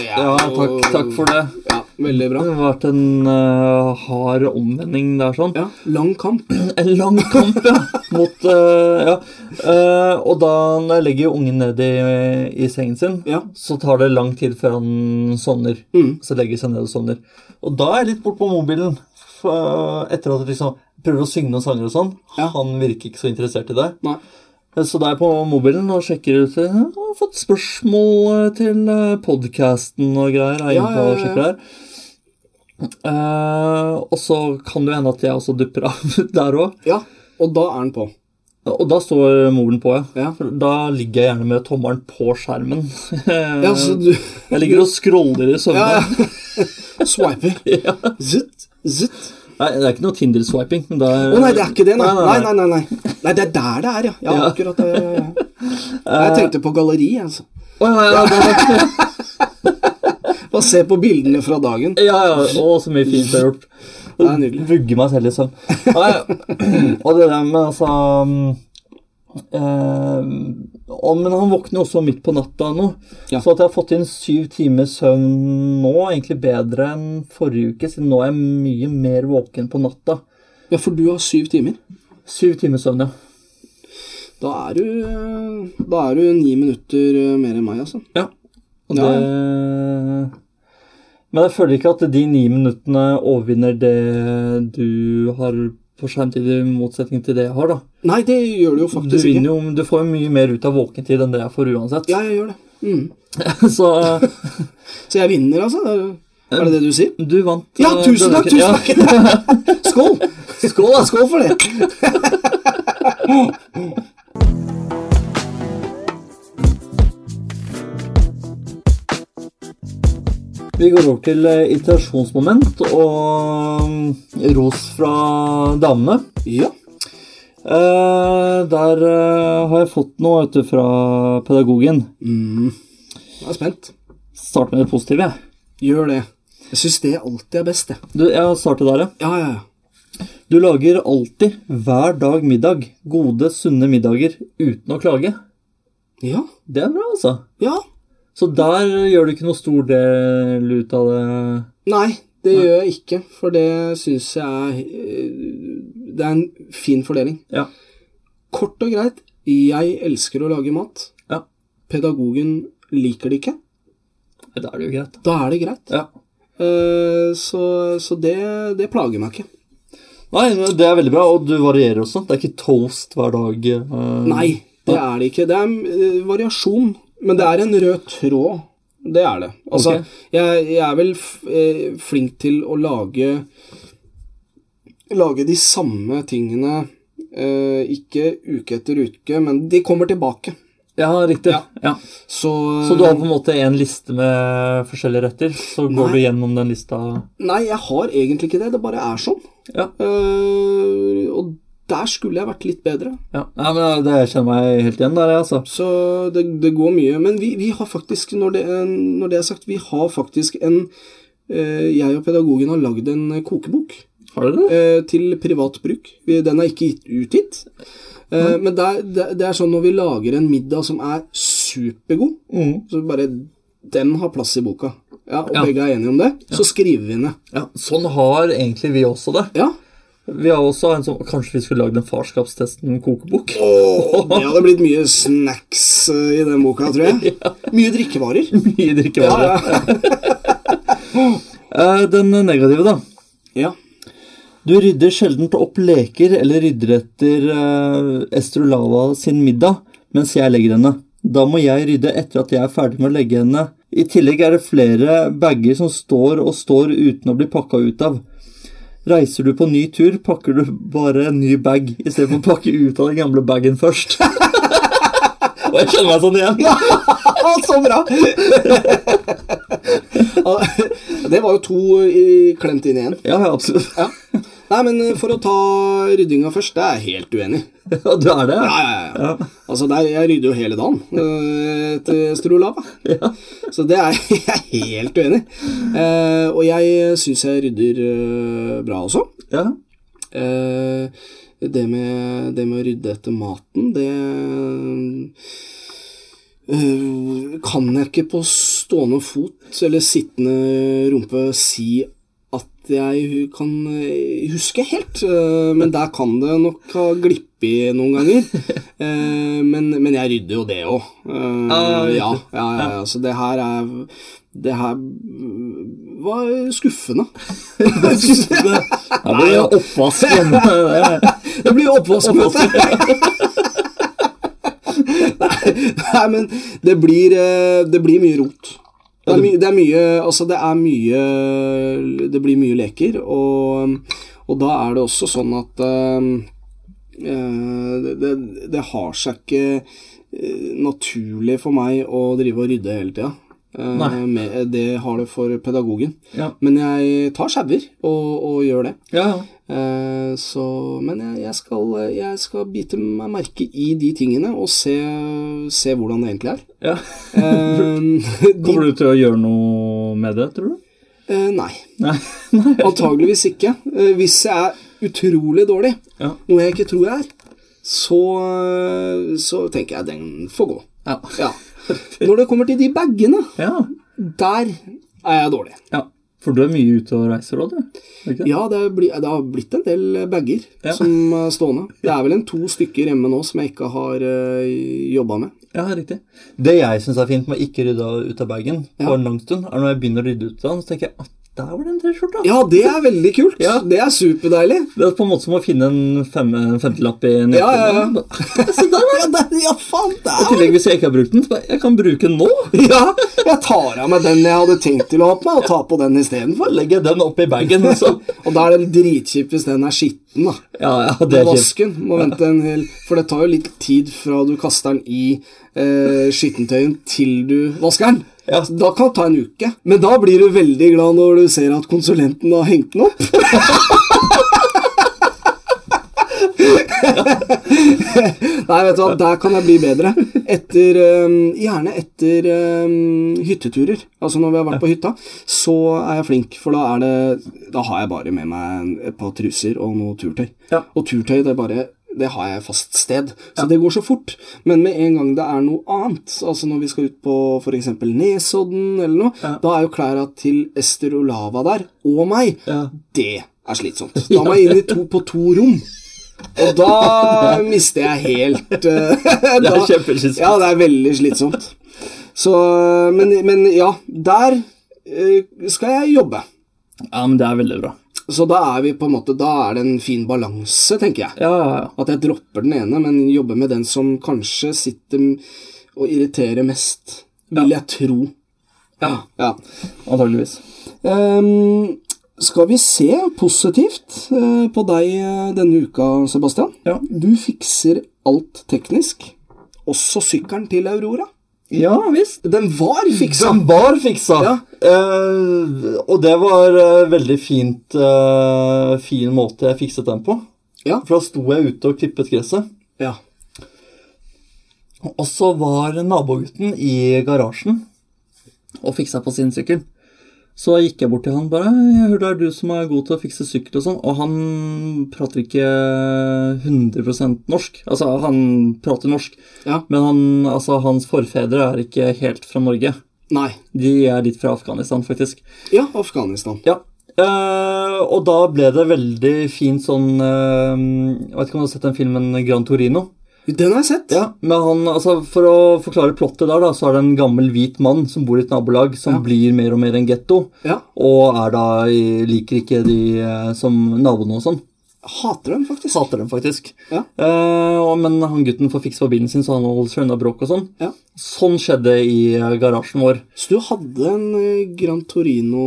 ja, takk, takk for det.
Ja, veldig
Det
bra.
har vært en eh, hard omvending der, sånn.
Ja, Lang kamp.
En lang kamp, ja. Mot eh, Ja. Eh, og da når jeg legger ungen ned i, i sengen sin,
Ja.
så tar det lang tid før han sovner.
Mm.
Så legger han seg ned og sovner. Og da er jeg litt bort på mobilen. For, eh, etter at jeg liksom prøver å synge noen sanger og sånn.
Ja.
Han virker ikke så interessert i det.
Nei.
Så da er jeg på mobilen og sjekker ut eh, Jeg har fått spørsmål eh, til podkasten og greier. Jeg er
Ja,
inne på
ja,
og
ja,
sjekker der. Eh, og så kan det jo hende at jeg også dupper av der òg.
Ja, og da er den på.
Og da står mobilen på, ja.
Ja.
For Da ligger jeg gjerne med tommelen på skjermen.
Ja, så du
Jeg ligger og scroller i søvne.
Ja, swiper.
Ja.
Zutt, zutt.
Nei, det er ikke noe Tinder-swiping. men
Å nei, det er ikke det, nei.
Nei,
Nei,
nei,
nei, nei. nei. nei det er der det er, ja. Ja,
Ja.
akkurat det. Ja, ja, ja. Jeg tenkte på galleri, jeg, altså.
Å, ja, ja, det er-
Bare se på bildene fra dagen.
ja, ja. Å, så mye fint jeg har gjort.
Det er nydelig.
Vugge meg selv i søvn. Nei, og det der med altså mm, eh, å, Men han våkner jo også midt på natta nå.
Ja.
Så at jeg har fått inn syv timer søvn nå, er egentlig bedre enn forrige uke, siden nå er jeg mye mer våken på natta.
Ja, for du har syv timer.
Syv timer søvn, ja.
Da er du eh, Da er du ni minutter eh, mer enn meg, altså.
Ja. Og
Ja,
det... Men jeg føler ikke at de ni minuttene overvinner det du har på skjermtid, i motsetning til det jeg har, da.
Nei, det gjør du jo
Du,
faktisk ikke.
vinner jo, du får jo mye mer ut av våkentid enn det jeg får uansett.
Ja, jeg gjør det. Mm.
Så eh,
Så jeg vinner, altså? Er det det du sier?
du vant.
Ja,
eh,
tusen
denne
takk!
uken.
tusen takk. Skål!
Ja, skål, da!
Skål for det.
Vi går over til eh, irritasjonsmoment og mm, ros fra damene.
Ja.
Eh, der eh, har jeg fått noe vet du, fra pedagogen.
Mm. Jeg er spent.
Start med det positive, jeg.
Gjør det. Jeg syns det alltid er best, jeg.
Du, jeg starter der, ja.
Ja, ja, ja.
Du lager alltid, hver dag, middag. Gode, sunne middager uten å klage.
Ja.
Det er bra, altså.
ja.
Så der gjør du ikke noe stor del ut av det.
Nei, det gjør jeg ikke, for det syns jeg er eh, Det er en fin fordeling.
Ja.
Kort og greit, jeg elsker å lage mat.
ja.
Pedagogen liker det ikke.
Da er det jo greit.
Da er det greit.
Ja.
Eh, Så, så det, det plager meg ikke.
Nei, det er veldig bra, og du varierer også. Det er ikke toast hver dag. eh,
Nei, det er det ikke. Det er eh, variasjon, men det er en rød tråd. Det er det. Altså,
Ok.
jeg, jeg er vel f eh, flink til å lage Lage de samme tingene eh, ikke uke etter uke, men de kommer tilbake.
Ja, riktig. Ja.
Ja. Så,
Så du har på en måte en liste med forskjellige retter, så
Nei.
går du gjennom den lista
Nei, jeg har egentlig ikke det. Det bare er sånn.
Ja.
Eh, og der skulle jeg vært litt bedre.
ja. ja men det jeg kjenner meg helt igjen der, jeg, altså.
Så det, det går mye. Men vi, vi har faktisk, når det, når det er sagt, vi har faktisk en eh, Jeg og pedagogen har lagd en kokebok
Har du det?
eh, til privat bruk. Vi, den er ikke gitt- utgitt. Eh, Men det er, det, det er sånn når vi lager en middag som er supergod,
Mm.
så bare Den har plass i boka. Ja, Og
Ja.
begge er enige om det. Så skriver vi den ned.
Ja, sånn har egentlig vi også det.
Ja.
Vi har også en sånn, Kanskje vi skulle lagd en farskapstesten-kokebok?
Det hadde blitt mye snacks eh, i den boka, tror jeg. Mye drikkevarer.
Mye drikkevarer.
Ja, ja.
Eh, Den negative, da.
Ja.
Du rydder sjelden opp leker eller rydder etter eh, Estrolava sin middag mens jeg legger henne. Da må jeg rydde etter at jeg er ferdig med å legge henne. I tillegg er det flere bager som står og står uten å bli pakka ut av. Reiser du på ny tur, pakker du bare en ny bag istedenfor å pakke ut av den gamle bagen først. og jeg kjenner meg sånn igjen.
Så bra! Ja, det var jo to i- klemt inn i én.
Ja, ja, absolutt.
Ja. Nei, men for å ta ryddinga først, det er jeg helt uenig i.
Ja, du er det?
Ja, ja, ja. Altså, det er, jeg rydder jo hele dagen eh, etter Strolava. Så det er jeg er helt uenig i. Eh, og jeg syns jeg rydder eh, bra også.
Ja.
Eh, det, med, det med å rydde etter maten, det eh, kan jeg ikke på stående fot eller sittende rumpe si at jeg kan eh, huske helt. Eh, Men der kan det nok ha glippet noen ganger. Eh, Men, men jeg rydder jo det òg.
Ja,
Ah, Ja,
riktig.
ja, ja, ja. Så det her er Det her var skuffende.
Det det blir jo oppvask hjemme. Det er-
Det blir oppvaskmøte! nei, nei, men det blir, eh, det blir mye rot. Det er, my, det er mye Altså, det er mye Det blir mye leker, og, og da er det også sånn at eh, eh, det, det, det har seg ikke eh, naturlig for meg å drive og rydde hele tida. Eh,
Nei.
med- Det har det for pedagogen.
Ja.
Men jeg tar sauer og, og gjør det.
Ja, ja.
Eh, Så, men jeg, jeg, skal, jeg skal bite meg merke i de tingene og se, se hvordan det egentlig er.
ja.
Eh, de,
Kommer du til å gjøre noe med det, tror du?
eh, nei,
Nei. Nei.
antageligvis ikke. Eh, Hvis jeg er utrolig dårlig,
Ja.
noe jeg ikke tror jeg er, så, eh, så tenker jeg den får gå.
Ja.
Ja. Når det kommer til de bagene,
ja.
der er jeg dårlig.
ja. For du er mye ute og reiser òg, du? Er det Ikke?
Ja, det, blir, det har blitt en del bager
Ja.
som er stående. Det er vel en to stykker hjemme nå som jeg ikke har uh, jobba med.
ja, riktig. Det jeg syns er fint med å ikke rydde ut av bagen på en lang stund, er når jeg begynner å rydde ut av den, så tenker jeg at der var det en T-skjorte.
Ja, det er veldig kult.
Ja.
Det er superdeilig.
Det er på en måte som å finne en, fem, en femtilapp i en
Ja, ja, ja.
jakke. Se der, var den!
ja, faen,
I tillegg, hvis jeg ikke har brukt den, så bare Jeg kan bruke den nå!
Ja, jeg tar av meg den jeg hadde tenkt til å ha på meg, og tar på den istedenfor.
Legger jeg den oppi bagen, og så
Og da er det dritkjipt hvis den er skitten, da.
Ja, ja, det er kjipt.
Vasken må vente en hel For det tar jo litt tid fra du kaster den i eh, skittentøyen til du vasker den.
Ja.
Da kan det ta en uke. Men da blir du veldig glad når du ser at konsulenten har hengt den opp. Nei, vet du hva, der kan jeg bli bedre. Etter, eh, gjerne etter eh, hytteturer. Altså når vi har vært på hytta, så er jeg flink, for da er det Da har jeg bare med meg en- et par truser og noe turtøy.
Ja.
Og turtøy, det er bare det har jeg fast sted, så det går så fort. Men med en gang det er noe annet, altså når vi skal ut på f.eks. Nesodden eller noe, da er jo klærne til Ester Olava der, og meg,
Ja.
det er slitsomt. Da må jeg inn i to, på to rom. Og da mister jeg helt eh,
Det
da-
er kjempeslitsomt.
Ja, det er veldig slitsomt. Så, eh, men, men ja, der eh, skal jeg jobbe.
Ja, men det er veldig bra.
Så da er vi på en måte Da er det en fin balanse, tenker jeg.
Ja, ja, ja.
At jeg dropper den ene, men jobber med den som kanskje sitter m- og irriterer mest. Vil jeg tro.
Ja.
Ja.
Antageligvis.
Ehm, skal vi se positivt eh, på deg eh, denne uka, Sebastian?
Ja.
Du fikser alt teknisk. Også sykkelen til Aurora.
Ja visst.
Den var fiksa!
Den var fiksa.
Ja.
Eh, og det var eh, veldig fint eh, fin måte jeg fikset den på.
Ja.
For da sto jeg ute og klippet gresset.
Ja.
Og så var nabogutten i garasjen og fiksa på sin sykkel. Så gikk jeg bort til han bare jeg hørte det er du som er god til å fikse sykkel og sånn. Og han prater ikke 100 norsk. Altså, han prater norsk,
ja.
men han, altså, hans forfedre er ikke helt fra Norge.
Nei.
De er litt fra Afghanistan, faktisk.
Ja, Afghanistan.
Ja. Eh, og da ble det veldig fint sånn eh, Jeg vet ikke om du har sett den filmen Gran Torino?
Den har jeg sett.
Ja, men han, altså For å forklare plottet der, da, så er det en gammel hvit mann som bor i et nabolag, som blir mer og mer en getto,
Ja.
og er da, i- liker ikke de eh, som naboene og sånn.
Jeg hater den, faktisk.
Hater dem, faktisk.
Ja.
Eh, og, men han gutten får fiksa på bilen sin, så han holder seg unna bråk og sånn.
Ja.
Sånn skjedde i eh, garasjen vår.
Så du hadde en eh, Gran Torino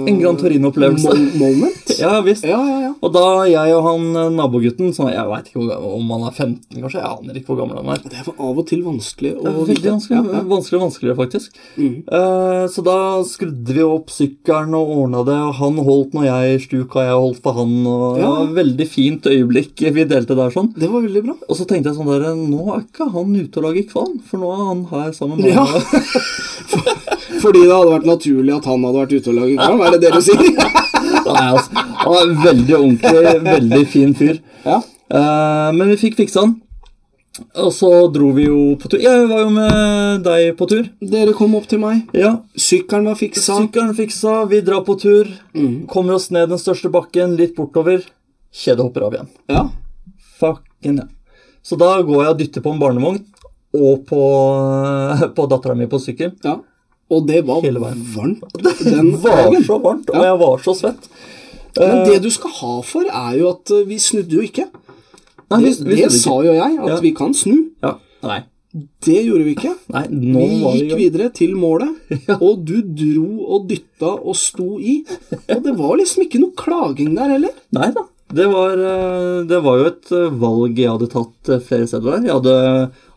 eh,
En Gran Torino-opplevelse.
mo- moment?
Ja, visst.
ja, ja. ja.
Og da jeg og han eh, nabogutten så Jeg veit ikke hvor gammel, om han er 15, kanskje. Jeg aner ikke hvor gammel han er.
Det er av og til vanskelig
Det
å
var veldig vanskelig, vanskeligere og vanskeligere, faktisk. Eh, så da skrudde vi opp sykkelen og ordna det, og han holdt når jeg stuk, og jeg holdt på han, og det
Ja.
var et veldig fint øyeblikk vi delte der sånn.
Det var veldig bra.
Og så tenkte jeg sånn der Nå er ikke han ute og lager kvalm, for nå er han her sammen med
Ja.
meg.
Fordi det hadde vært naturlig at han hadde vært ute og laget kvalm, er det det du sier?
Nei, altså, han er en veldig ordentlig, veldig fin fyr.
ja.
Eh, men vi fikk fiksa han. Og så dro vi jo på tur. Jeg var jo med deg på tur.
Dere kom opp til meg.
Ja,
Sykkelen var fiksa.
Sykkelen fiksa, vi drar på tur.
Mm.
Kommer oss ned den største bakken, litt bortover. Kjedet hopper av igjen.
ja.
Fucking ja. Så da går jeg og dytter på en barnevogn og på, på dattera mi på sykkel.
ja. Og det var
Hele veien.
varmt
Det
den
var
dagen.
så varmt, og jeg var så svett.
Men det du skal ha for, er jo at eh, vi snudde jo ikke.
Nei,
Det,
vi- vi
det
snudde
sa
ikke.
jo jeg, at
Ja.
vi kan snu.
ja. Nei.
Det gjorde vi ikke.
Nei, nå
Vi
var
gikk
det jo
videre til målet, og du dro og dytta og sto i. Og det var liksom ikke noe klaging der heller.
Nei da. Det var, eh, det var jo et eh, valg jeg hadde tatt eh, flere steder der. Jeg hadde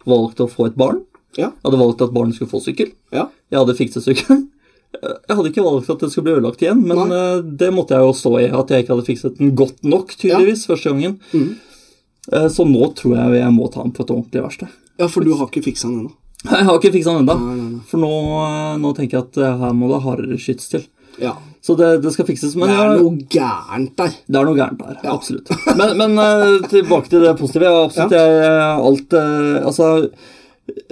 valgt å få et barn.
Ja,
Jeg hadde valgt at barnet skulle få sykkel.
ja.
Jeg hadde fikset sykkelen. Jeg hadde ikke valgt at det skulle bli ødelagt igjen, men
Nei.
eh, det måtte jeg jo stå i. At jeg ikke hadde fikset den godt nok, tydeligvis, første gangen.
Mm.
Eh, Så nå tror jeg jeg må ta den på et ordentlig verksted.
Ja, for du har ikke fiksa den ennå.
Jeg har ikke fiksa den ennå, for nå, eh, nå tenker jeg at eh, her må det hardere skyts til.
Ja.
Så det, det skal fikses. Men
Det er
jeg,
noe gærent der.
det er noe gærent der. Absolutt. Men, men eh, tilbake til det positive. Ja, absolutt. Jeg, eh, alt eh, Altså,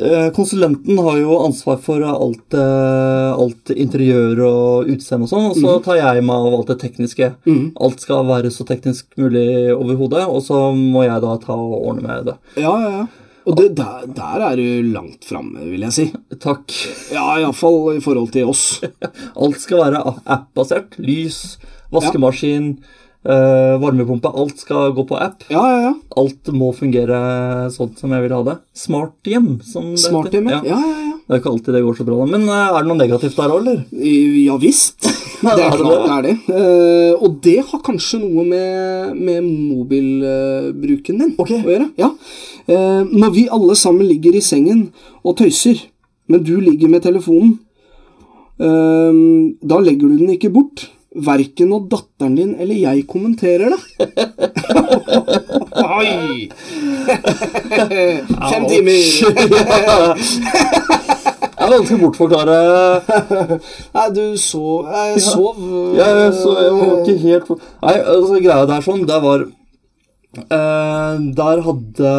eh, konsulenten har jo ansvar for alt, eh, alt interiør og utseende og sånn, og så tar jeg meg av alt det tekniske. Alt skal være så teknisk mulig overhodet, og så må jeg da ta og ordne med det.
Ja, ja, ja. Og det, der, der er du langt framme, vil jeg si.
Takk.
Ja, iallfall i forhold til oss.
Alt skal være a- app-basert. Lys, vaskemaskin, eh, varmepumpe. Alt skal gå på app.
Ja, ja, ja.
alt må fungere sånn som jeg vil ha det. Smart hjem. Som det heter.
Smarthjemmet.
Ja.
Ja, ja, ja.
Det er ikke alltid det går så bra, da. men eh, er det noe negativt der òg, eller?
I- Ja visst. Det
Ja,
er
det er
klart det er det. Eh, og det har kanskje noe med, med mobilbruken din
Ok.
å gjøre. Ja. Eh, når vi alle sammen ligger i sengen og tøyser, men du ligger med telefonen, eh, da legger du den ikke bort. Verken når datteren din eller jeg kommenterer det. Oi! Fem timer.
Det er vanskelig å bortforklare.
Nei, du sov Jeg sov eh,
Jeg, eh, så jeg var ikke helt Nei, altså, greia der sånn, det var eh, Der hadde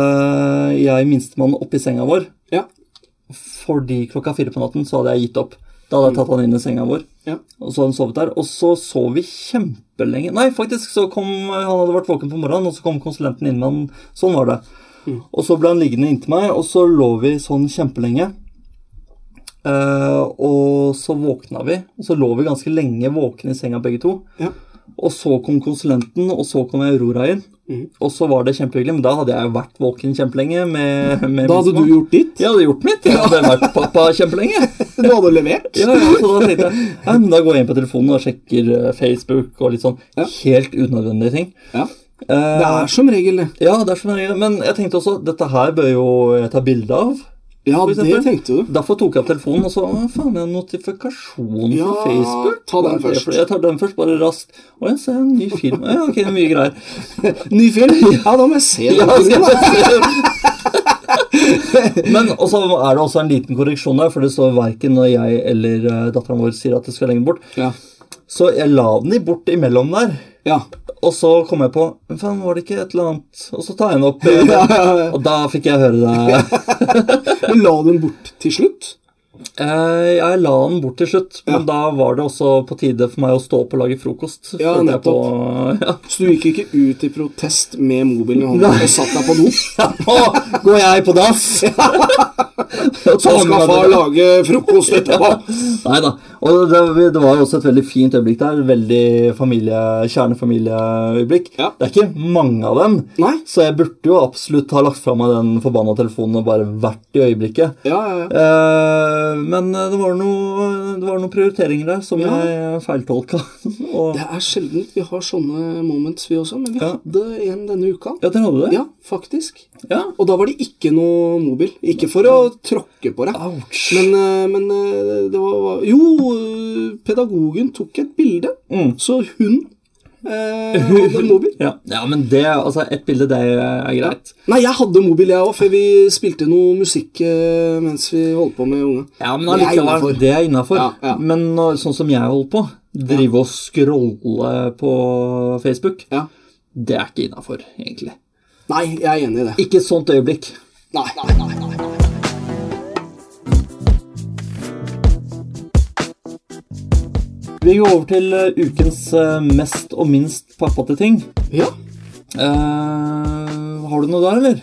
jeg minstemann oppi senga vår,
Ja.
fordi klokka fire på natten så hadde jeg gitt opp. Da hadde jeg tatt han inn i senga vår.
ja.
Og så hadde han sovet der, og så sov vi kjempelenge. Nei, faktisk, så kom, han hadde vært våken på morgenen, og så kom konsulenten inn med han. Sånn var det.
Mm.
Og så ble han liggende inntil meg, og så lå vi sånn kjempelenge. Eh, og så våkna vi, og så lå vi ganske lenge våkne i senga begge to.
ja.
Og så kom konsulenten, og så kom Aurora inn.
Mm.
Og så var det kjempehyggelig, men da hadde jeg jo vært våken kjempelenge. Med, med
Da hadde
minstemann.
du gjort ditt.
Jeg hadde gjort mitt. Jeg hadde vært pappa kjempelenge.
Du hadde levert?
Ja, ja, så da tenkte jeg Nei, men da går jeg inn på telefonen og sjekker eh, Facebook og litt sånn helt unødvendige ting.
Ja.
Eh,
Det er som regel det.
ja, det er så nøye, men jeg tenkte også dette her bør jo jeg ta bilde av.
Ja,
For
det
eksempel.
tenkte du.
Derfor tok jeg opp telefonen og så Å, faen, jeg har en notifikasjon
Ja,
på Facebook.
ta den
Hva er det for-
først.
Jeg tar den først, bare raskt. Å, jeg ser en ny film. Ja, ok, mye greier.
Ny film? Ja, da må jeg se
Ja,
den.
skal jeg se. Men også er det også en liten korreksjon der, for det står verken når jeg eller dattera vår sier at det skal lenger bort.
Ja.
Så jeg la den i bort imellom der.
ja.
Og så kom jeg på Men faen, var det ikke et eller annet? Og så tar jeg den opp. eh,
Ja, ja, ja.
Og da fikk jeg høre det.
Men la den bort til slutt?
Eh, Jeg la den bort til slutt, men da var det også på tide for meg å stå opp og lage frokost.
Ja,
følte jeg På, ja.
Så du gikk ikke ut i protest med mobilen i hånda
Nei.
og satt deg på do?
Nå går jeg på dass!
Så
Sånn
skal far lage frokost etterpå!
Nei da. Og det, det var jo også et veldig fint øyeblikk der. Veldig familie, kjernefamilieøyeblikk.
Ja.
Det er ikke mange av dem,
Nei.
så jeg burde jo absolutt ha lagt fra meg den forbanna telefonen og bare vært i øyeblikket.
Ja, ja, ja.
Eh, men det var, noe, det var noen prioriteringer der som
Ja.
jeg feiltolka. og
Det er sjelden vi har sånne moments, vi også, men vi
Ja.
hadde en denne uka.
Ja, dere hadde det?
Ja, faktisk.
Ja.
Og da var det ikke noe mobil. Ikke for å tråkke på deg.
Ouch.
Men, eh, men eh, det var Jo, eh, pedagogen tok et bilde,
Mm.
så hun eh, hadde mobil.
Ja. ja, men det Altså, ett bilde, det er greit.
Nei, jeg hadde mobil, jeg òg, før vi spilte noe musikk eh, mens vi holdt på med unge.
Ja, men
Det er
allikevel,
innenfor.
det er innafor.
Ja, ja.
Men når, sånn som jeg holder på, drive og scrolle på Facebook,
Ja.
det er ikke innafor, egentlig.
Nei, jeg er enig i det.
Ikke et sånt øyeblikk.
Nei, nei, nei, nei.
Vi går over til eh, ukens eh, mest og minst pappate ting.
Ja.
Eh, har du noe der, eller?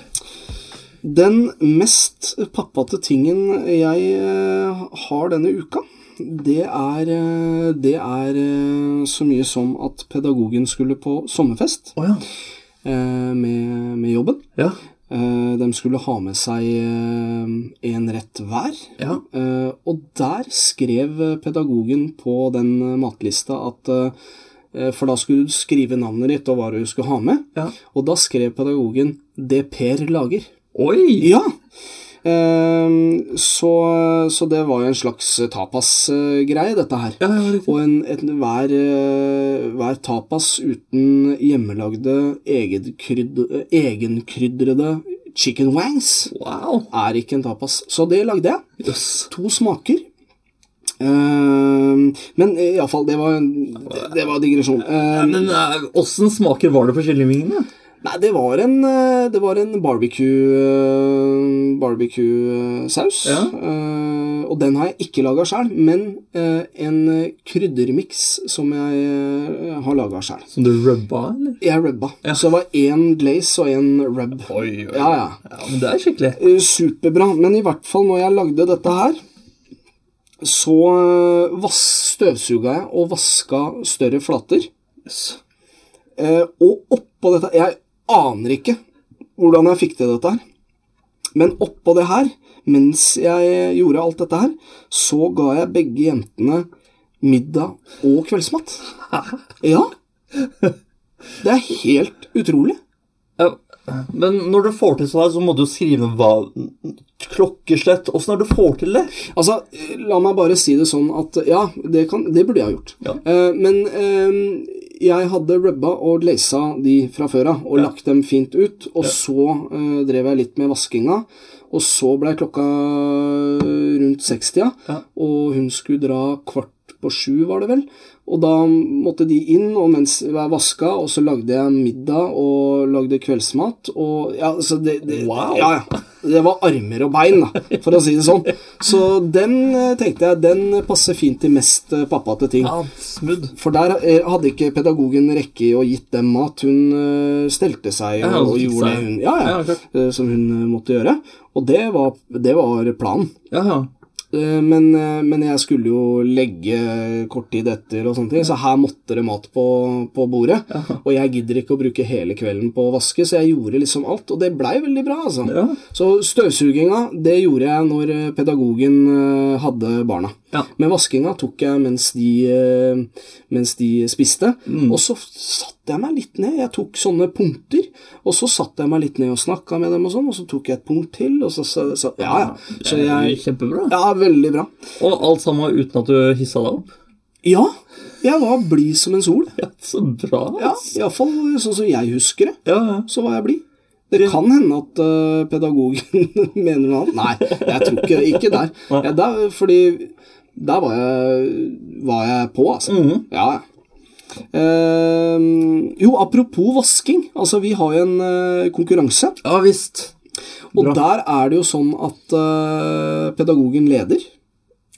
Den mest pappate tingen jeg eh, har denne uka, det er, eh, det er eh, så mye som at pedagogen skulle på sommerfest
Å ja.
eh, med, med jobben.
ja.
Eh, De skulle ha med seg eh, en rett hver.
Ja.
Eh, Og der skrev pedagogen på den eh, matlista at eh, For da skulle du skrive navnet ditt og hva du skulle ha med.
Ja.
Og da skrev pedagogen 'Det Per lager'.
Oi!
Ja. Ehm, så, så det var jo en slags tapas-greie, dette her.
Ja, ja, riktig.
Og en, et, hver, eh, hver tapas uten hjemmelagde, egenkryd- egenkrydrede chicken wangs
Wow.
er ikke en tapas. Så det lagde jeg.
Jøss.
To smaker. Ehm, men iallfall, det var, det, det var digresjon. Ehm,
Men eh, åssen smaker var det på kyllingvingene?
Nei, det var en, eh, det var en barbecue, eh, barbecue-saus.
Ja.
Eh, Og den har jeg ikke laga sjøl, men eh, en eh, kryddermiks som jeg eh, har laga sjøl.
Som du rubba, eller?
Jeg rubba.
Ja.
Så det var én glaze og én rub.
Oi, oi.
Ja, ja.
ja men det er skikkelig.
Eh, Superbra. Men i hvert fall når jeg lagde dette her, så eh, vass, støvsuga jeg og vaska større flater.
Jøss.
Eh, og oppå dette Jeg aner ikke hvordan jeg fikk til dette her. Men oppå det her, mens jeg gjorde alt dette her, så ga jeg begge jentene middag og kveldsmat. Ja. Det er helt utrolig.
Ja, men når du får til sånn her, så må du skrive hva Klokkeslett Åssen er det du får til det?
Altså, eh, la meg bare si det sånn at ja, det, kan, det burde jeg ha gjort.
Ja.
Eh, men eh, jeg hadde rubba og glaza de fra før av, og lagt dem fint ut. Og så eh, drev jeg litt med vaskinga, og så blei klokka eh, rundt 60-a,
Ja.
og hun skulle dra kvart på sju, var det vel. Og da måtte de inn, og mens jeg vaska, og så lagde jeg middag og lagde kveldsmat. Og ja, så det, det
Wow.
Ja, ja. Det var armer og bein, da, for å si det sånn. Så den eh, tenkte jeg, den passer fint til mest eh, pappate ting.
Ja, smudd.
For der eh, hadde ikke pedagogen rekke i å gitt dem mat. Hun eh, stelte seg
Ja,
og,
hun
og
fikk
gjorde
seg.
det hun, ja, ja,
Ja, klart.
eh, som hun eh, måtte gjøre. Og det var, det var planen.
Ja, ja.
Eh, Men, eh, men jeg skulle jo legge kort tid etter, og sånne ting, så her måtte det mat på, på bordet. Og jeg gidder ikke å bruke hele kvelden på å vaske, så jeg gjorde liksom alt. Og det blei veldig bra, altså.
Ja.
Så støvsuginga, det gjorde jeg når eh, pedagogen eh, hadde barna.
Ja.
Men vaskinga tok jeg mens de, eh, mens de spiste.
Mm.
Og så satte jeg meg litt ned. Jeg tok sånne punkter. Og så satte jeg meg litt ned og snakka med dem, og sånn, og så tok jeg et punkt til. og så, så, så Ja, ja. Så
Det er
jeg
jo Kjempebra.
Ja, veldig bra.
Og alt sammen uten at du hissa deg opp.
Ja, jeg var blid som en sol.
Ja, Så bra.
Ja, Iallfall sånn som jeg husker det.
ja. ja.
Så var jeg blid. Det kan hende at eh, pedagogen mener noe annet. Nei, jeg tror ikke Ikke der. Ja, der fordi der var jeg, var jeg på, altså. Ja, ja. Eh, jo, apropos vasking. Altså, vi har jo en eh, konkurranse.
Ja visst.
Og der er det jo sånn at eh, pedagogen leder.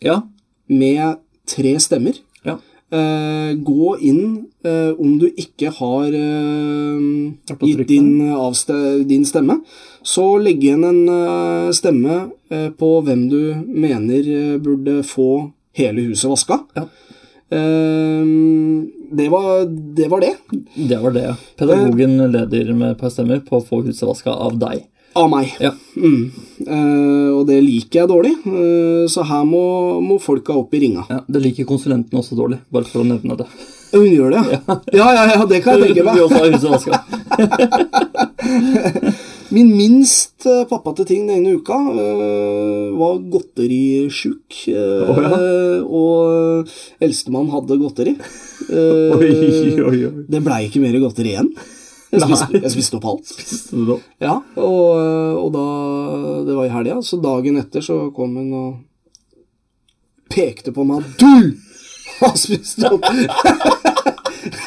Ja.
med tre stemmer.
ja.
Eh, gå inn eh, om du ikke har eh,
på
gitt
trykkene.
din, eh, avste, din stemme. Så legg igjen en eh, stemme eh, på hvem du mener eh, burde få hele huset vaska.
Ja.
Eh, det, var, det var det.
Det var det. Pedagogen leder med et par stemmer på å få huset vaska av deg.
Av meg.
Ja.
Mm. Eh, og det liker jeg dårlig, eh, så her må, må folka opp i ringa.
ja. Det liker konsulenten også dårlig, bare for å nevne det.
Hun gjør det, ja? Ja, ja, ja, det kan jeg tenke meg.
Vi også har huset vaska.
Min minst eh, pappate ting denne uka eh, var godterisjuk. eh,
Å, ja.
eh, og eldstemann hadde godteri. Eh,
Oi, oi, oi.
Det blei ikke mer godteri igjen. Jeg spiste, jeg spiste opp alt.
Visste du det?
Ja, og, eh, og da Det var i helga, så dagen etter så kom hun og pekte på meg. Du har spist opp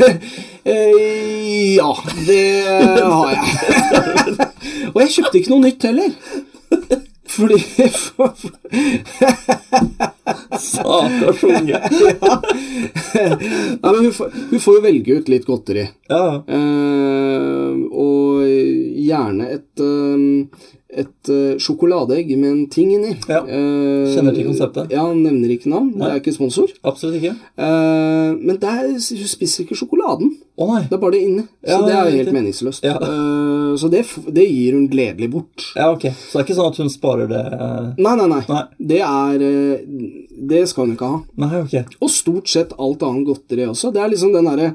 Eh, Ja, det har jeg. og jeg kjøpte ikke noe nytt heller. Fordi
Stakkars unge.
Nei, men hun, får, hun får jo velge ut litt godteri.
Ja.
Eh, og gjerne et, eh, et eh, sjokoladeegg med en ting inni.
Ja.
Eh,
Kjenner til konseptet.
Ja, nevner ikke navn. Jeg er ikke sponsor.
Absolutt ikke.
Eh, men der, hun spiser ikke sjokoladen.
Å nei.
Det er bare det inni. Så
Ja,
det er jo
riktig.
helt meningsløst.
Ja.
Eh, så det, f- det gir hun gledelig bort.
Ja, ok. Så det er ikke sånn at hun sparer det eh,
Nei, nei, nei.
Nei.
Det er eh, Det skal hun ikke ha.
Nei, ok.
Og stort sett alt annet godteri også. Det er liksom den derre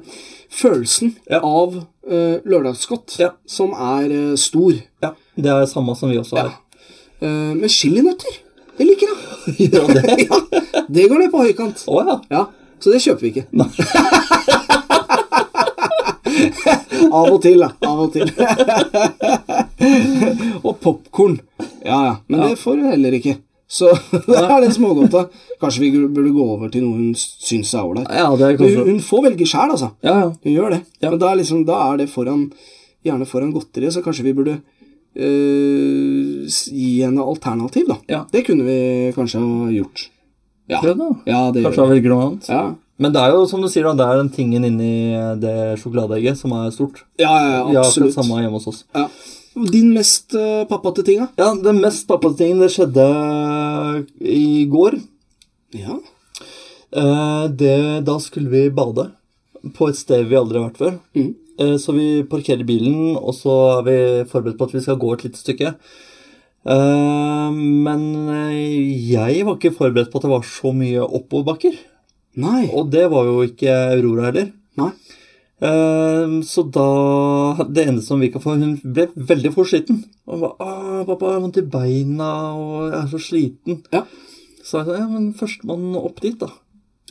følelsen
Ja.
av eh, lørdagsgodt
Ja.
som er eh, stor.
Ja, Det er det samme som vi også har.
Eh, men chilinøtter, det liker jeg.
Gjør det?
ja, det går ned på høykant.
Å ja.
Ja, så det kjøper vi ikke. av og til, da. Av og til. og popkorn. Ja, ja. Men det får hun heller ikke. Så det er det smågodta. Kanskje vi burde gå over til noe hun syns er ålreit.
Ja, det er
Hun,
kanskje
hun får velge sjæl, altså.
Ja, ja.
Hun gjør det. Men da er, liksom, da er det foran, gjerne foran godteriet, så kanskje vi burde øh, s- gi henne alternativ, da.
Ja.
Det kunne vi kanskje ha gjort. Ja,
Prøv, da.
ja det
Kanskje
gjør vi.
hun velger noe annet.
Ja.
Men det er jo som du sier, da, det er den tingen inni eh, det sjokoladeegget som er stort.
Ja, ja, ja,
Vi har akkurat
absolutt.
samme hjemme hos oss.
Ja. Din mest øh, pappate ting, da?
Ja, Den mest pappate tingen, det skjedde eh, i går.
Ja.
Eh, det, da skulle vi bade på et sted vi aldri har vært før. Eh, så vi parkerer bilen, og så er vi forberedt på at vi skal gå et lite stykke. Eh, men eh, jeg var ikke forberedt på at det var så mye oppoverbakker.
Nei.
Og det var jo ikke Aurora heller.
Nei.
Eh, så da Det eneste som vi kan få Hun ble veldig fort sliten. Og hun ba, «Åh, 'Pappa, jeg har vondt i beina, og jeg er så sliten.'
Ja.
Så jeg sa ja, men førstemann opp dit, da.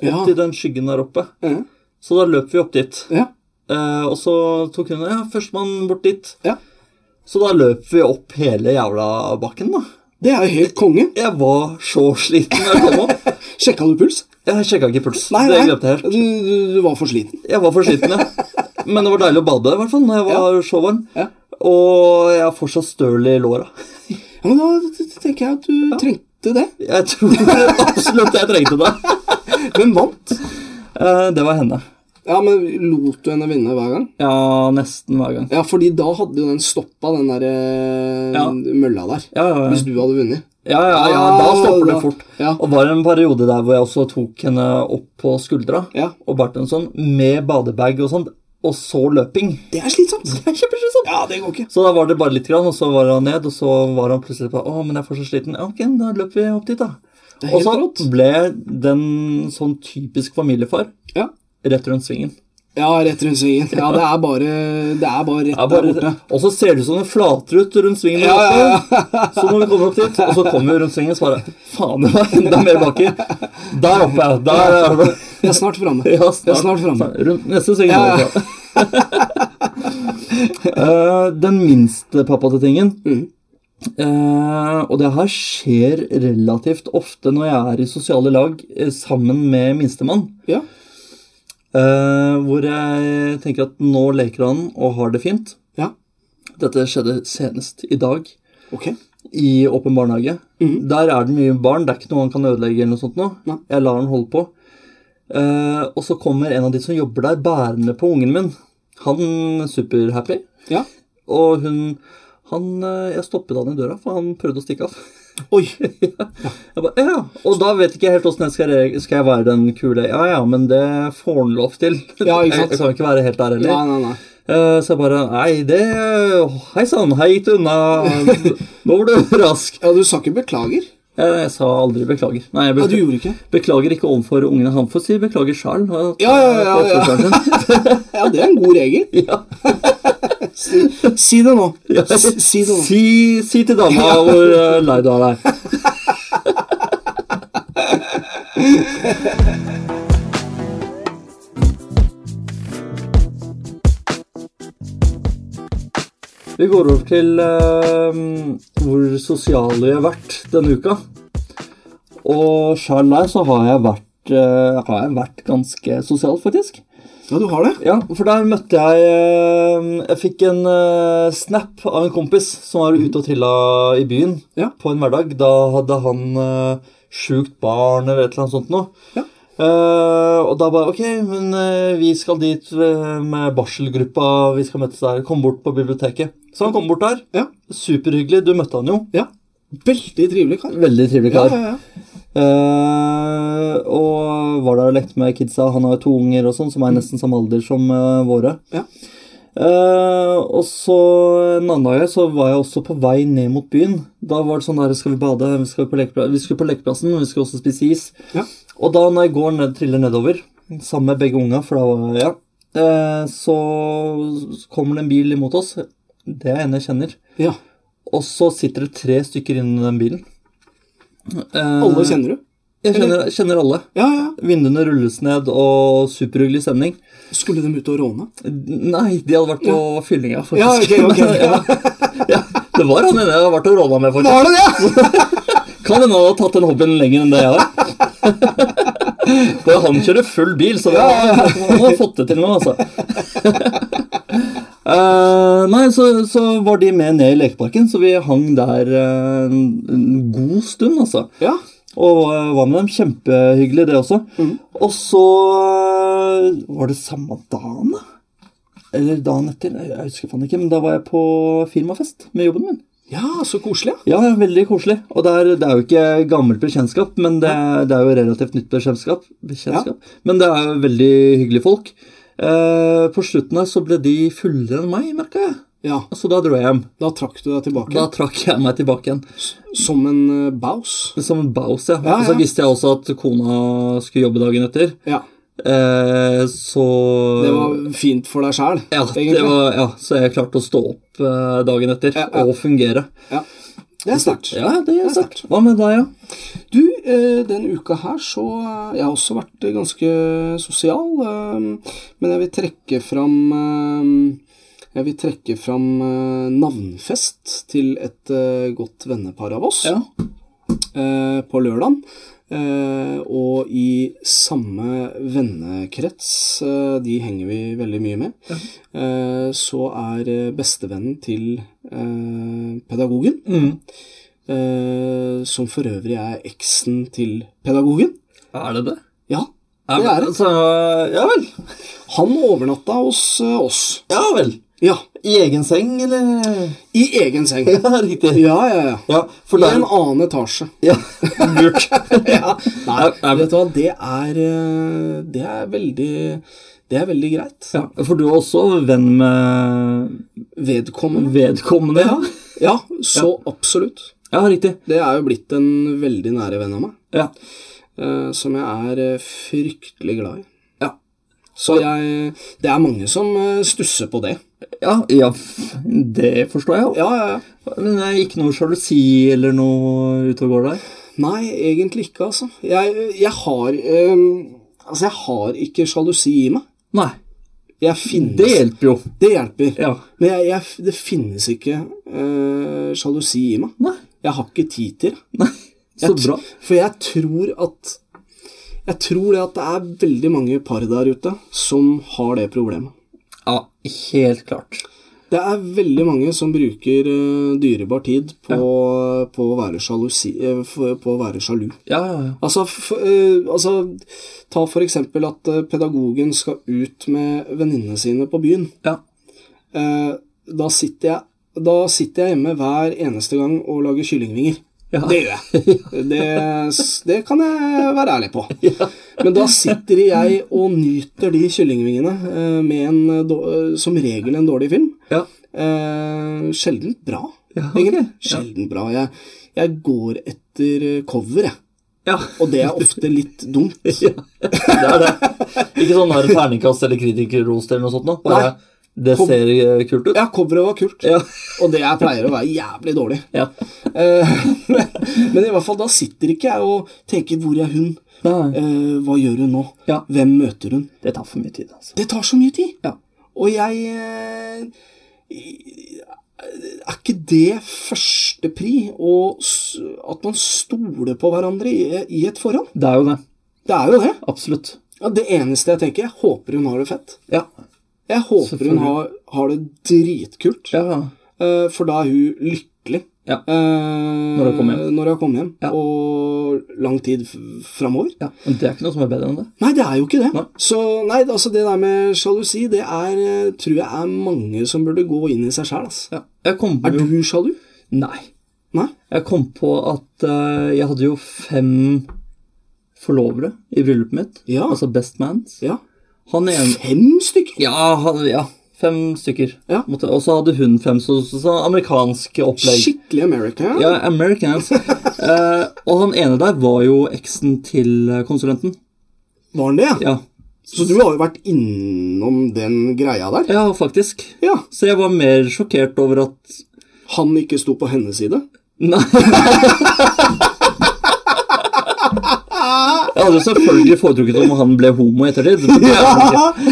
Ja.
Til den skyggen der oppe.
Ja.
Så da løp vi opp dit.
ja.
Eh, og så tok hun ja, førstemann bort dit.
Ja.
Så da løp vi opp hele jævla bakken, da.
Det er jo helt konge.
Jeg var så sliten da jeg kom opp.
Sjekka du puls?
Jeg sjekka ikke puls. det glemte jeg helt.
Du, du, du var for sliten.
Jeg var for sliten, ja. Men det var deilig å bade, i hvert fall, når jeg var så varm.
Ja.
Og jeg er fortsatt støl i låra.
Ja, men da tenker jeg at du trengte det.
Jeg tror absolutt jeg trengte det.
Hvem vant?
Eh, det var henne.
Ja, men lot du henne vinne hver gang?
Ja, nesten hver gang.
Ja, fordi da hadde jo den stoppa, den der eh,
Ja.
mølla der.
Ja, ja, ja.
Hvis du hadde vunnet.
Ja, ja, ja, da stopper det
da-
fort.
ja.
Og var det en periode der hvor jeg også tok henne opp på skuldra
Ja.
og bart henne sånn, med badebag og sånn, og så løping.
Det er slitsomt.
Det er kjempeslitsomt.
Ja, det går ikke.
Så da var det bare litt, grann, og så var han ned, og så var han plutselig på Å, men jeg er fortsatt sliten. Ja, ok, da løper vi opp dit, da.
Det er
Og
helt
så
rått.
ble den sånn typisk familiefar
Ja.
rett rundt svingen.
ja, rett rundt svingen. Ja, det er bare, det er bare rett
Ja, bare,
der borte.
og så ser det ut som det flater ut rundt svingen.
Ja, ja,
Så når vi kommer opp dit, og så kommer vi rundt svingen, så bare Faen, det var enda mer bakker. Der oppe, ja. Der er det
Jeg er snart framme.
Ja,
Jeg er snart framme.
Rundt neste sving.
Ja, ja.
da, altså. Eh, den minste pappatingen
Mhm.
eh, Og det her skjer relativt ofte når jeg er i sosiale lag eh, sammen med minstemann.
Ja.
eh, hvor jeg tenker at nå leker han og har det fint.
ja.
Dette skjedde senest i dag.
Ok.
i åpen barnehage. Der er det mye barn. Det er ikke noe han kan ødelegge. eller noe sånt nå.
Mhm. Nei.
Jeg lar han holde på. Eh, og så kommer en av de som jobber der, bærende på ungen min. Han er superhappy.
Ja.
Og hun han, eh, Jeg stoppet han i døra, for han prøvde å stikke av.
Oi.
Jeg ba, ja, Og da vet ikke jeg helt åssen jeg skal reagere. Skal jeg være den kule Ja ja, men det får han lov til.
Ja, ikke sant.
Jeg, jeg kan ikke være helt der heller.
Nei, nei, nei.
Eh, Så jeg bare Nei, det Hei sann, hei gikk det unna. Nå var du rask.
Ja, du sa ikke beklager?
Jeg, jeg sa aldri beklager. Nei, jeg
Ja, du
beklager,
gjorde ikke?
beklager ikke overfor ungene. Han får si beklager sjøl.
Ja, ja, ja, ja. Ja, det er en god regel. si, si det nå. Si, si det nå.
Si, si til dama hvor eh, lei du er deg. Vi går over til eh, hvor sosiale jeg har vært denne uka. Og sjøl der så har jeg vært, eh, har jeg vært ganske sosial, faktisk.
Ja, du har det?
Ja, for der møtte jeg eh, Jeg fikk en eh, snap av en kompis som var ute og trilla i byen
Ja.
på en hverdag. Da hadde han eh, sjukt barn eller et eller annet sånt noe.
Ja.
Eh, og da bare Ok, men eh, vi skal dit eh, med barselgruppa. Vi skal møtes der. Kom bort på biblioteket. Så han kom bort der.
Ja.
Superhyggelig. Du møtte han jo.
ja. Veldig trivelig kar.
Veldig trivelig
Ja,
kar.
ja, ja.
Eh, og var der og lekte med kidsa. Han har jo to unger og sånn, som er nesten samme alder som eh, våre.
Mm. Ja.
Eh, og så en annen dag så var jeg også på vei ned mot byen. Da var det sånn der Skal vi bade? Vi, skal på lekepla- vi skulle på lekeplassen, men vi skulle også spise is.
Ja.
Og da når jeg går ned, triller nedover, sammen med begge unga, for da var ja, eh, så kommer det en bil imot oss. Det er en jeg kjenner.
ja.
Og så sitter det tre stykker inni den bilen. Eh,
Alle kjenner du?
Jeg kjenner, kjenner alle.
Ja, ja.
Vinduene rulles ned og superhyggelig stemning.
Skulle de ut og råne?
Nei, de hadde vært på fyllinga, faktisk.
Ja, ok, ok. Ja.
ja, det var han ene jeg har vært og råna med, faktisk.
Var det det?
Kan hende han har tatt den hobbyen lenger enn det jeg har. For han kjører full bil, så det
Ja, ja, ja.
han har fått det til nå, altså. Eh, nei, så, så var de med ned i lekeparken, så vi hang der eh, en, en god stund, altså.
Ja.
Og eh, var med dem. Kjempehyggelig, det også. Og så eh, Var det samme dagen, da? Eller dagen etter? Nei, Jeg husker faen ikke, men da var jeg på firmafest med jobben min.
ja, så koselig. ja.
Ja, ja, veldig koselig. Og det er, det er jo ikke gammelt bekjentskap, men det, er- det er jo relativt nytt bekjentskap. bekjentskap. Men det er jo veldig hyggelige folk. Eh, på slutten her så ble de fullere enn meg, merka jeg.
Ja,
Så da dro jeg hjem.
Da trakk du deg tilbake.
Da trakk jeg meg tilbake igjen.
Som en eh, baus.
Som en baus, ja.
Ja,
Og så
ja.
visste jeg også at kona skulle jobbe dagen etter.
Ja.
Eh, så
Det var fint for deg sjæl,
Øh. ja, det var, ja, så jeg klarte å stå opp eh, dagen etter
Ja, ja.
og fungere.
Ja. Det er sterkt.
Ja, det er
sterkt.
sant. Hva med deg, ja?
Du, eh, den uka her så eh, Jeg har også vært eh, ganske sosial, eh, men jeg vil trekke fram eh, Jeg vil trekke fram eh, navnfest til et eh, godt vennepar av oss eh, på lørdagen. Eh, og i samme vennekrets, eh, de henger vi veldig mye med, eh, så er eh, bestevennen til eh, pedagogen,
Mm.
eh, som for øvrig er eksen til pedagogen
Er det det?
Ja, det er det.
Så, altså, ja vel.
Han overnatta hos eh, oss.
Ja vel.
Ja,
I egen seng, eller?
i egen seng.
Ja, riktig.
Ja, ja, ja.
Ja, for
I
der
en annen etasje.
ja. Lurt.
Nei,
Ja,
vet du hva, det er eh, Det er veldig Det er veldig greit.
Ja, for du er også venn med
Vedkommende.
vedkommende?
Ja, ja så absolutt.
ja riktig.
Det er jo blitt en veldig nære venn av meg,
Ja.
eh, som jeg er eh, fryktelig glad i.
Ja.
Så jeg Det er mange som eh, stusser på det.
Ja, ja, f- det forstår jeg jo.
Ja, ja, ja.
Men det er ikke noe sjalusi eller noe ute og går der?
Nei, egentlig ikke, altså. Jeg, jeg har eh, Altså, jeg har ikke sjalusi i meg.
Nei.
Jeg finnes
Det hjelper jo.
Det hjelper.
Ja.
Men jeg, jeg, det finnes ikke eh, sjalusi i meg.
Nei.
Jeg har ikke tid til det.
Nei. Så
Jeg tr-
bra.
For jeg tror at Jeg tror det at det er veldig mange par der ute som har det problemet.
Ja, helt klart.
Det er veldig mange som bruker eh, dyrebar tid på, på, å være sjalusi, eh, for- på å være sjalu.
Ja, ja, ja.
Altså, f eh, altså ta for eksempel at eh, pedagogen skal ut med venninnene sine på byen.
Ja,
Eh, da, sitter jeg, da sitter jeg hjemme hver eneste gang og lager kyllingvinger.
Ja.
Det gjør jeg. Det, s- det kan jeg være ærlig på. Men da sitter jeg og nyter de kyllingvingene eh, med en, eh, då- eh, som regel en dårlig film.
ja.
Eh, sjelden bra,
Ja, ok.
egentlig.
Ja.
Sjelden bra. Jeg, jeg går etter eh, cover, jeg.
ja.
Og det er ofte litt dumt.
Det er det. Ikke sånn her terningkast eller kritikerrost eller noe sånt noe. Bare
Nei.
det ser eh, kult ut.
Ja, coveret var kult,
Ja.
og det jeg pleier å være jævlig dårlig.
ja.
Eh, Men i hvert fall, da sitter ikke jeg og tenker 'hvor er hun',
Nei.
Eh, 'hva gjør hun nå',
Ja.
'hvem møter hun'?
Det tar for mye tid, altså.
Det tar så mye tid.
Ja.
Og jeg eh, i- Er ikke det førstepri å s- at man stoler på hverandre i, i et forhold?
Det er jo det.
Det er jo det.
Absolutt.
Ja, det eneste jeg tenker, jeg håper hun har det fett.
Ja.
Jeg håper hun
Selvfølgelig.
har, har det dritkult.
Ja, ja.
Eh, for da er hun lykkelig.
Ja.
Eh,
Når hun kommer hjem.
Når hun kommer hjem.
Ja.
Og lang tid f- framover.
ja. Men det er ikke noe som er bedre enn det.
Nei, det er jo ikke det.
Nei.
Så nei, altså det der med sjalusi, det er, eh, tror jeg er mange som burde gå inn i seg sjæl. Altså.
Ja. Jeg kom på
Er du sjalu?
Nei.
Nei?
Jeg kom på at eh, jeg hadde jo fem forlovere i bryllupet mitt.
Ja.
Altså best mans.
Ja.
Han ene
Fem stykker?
Ja, han, ja. Fem stykker.
Ja.
Måtte- Og så hadde hun fem, så, så, så amerikansk opplegg.
Skikkelig American.
Ja, Americans. Eh, og han ene der var jo eksen til eh, konsulenten.
Var han det? Ja.
Ja,
Så du har jo vært innom den greia der?
ja faktisk.
Ja.
Så jeg var mer sjokkert over at
Han ikke sto på hennes side?
Nei. Jeg hadde jo selvfølgelig foretrukket om han ble homo etter det. det ja.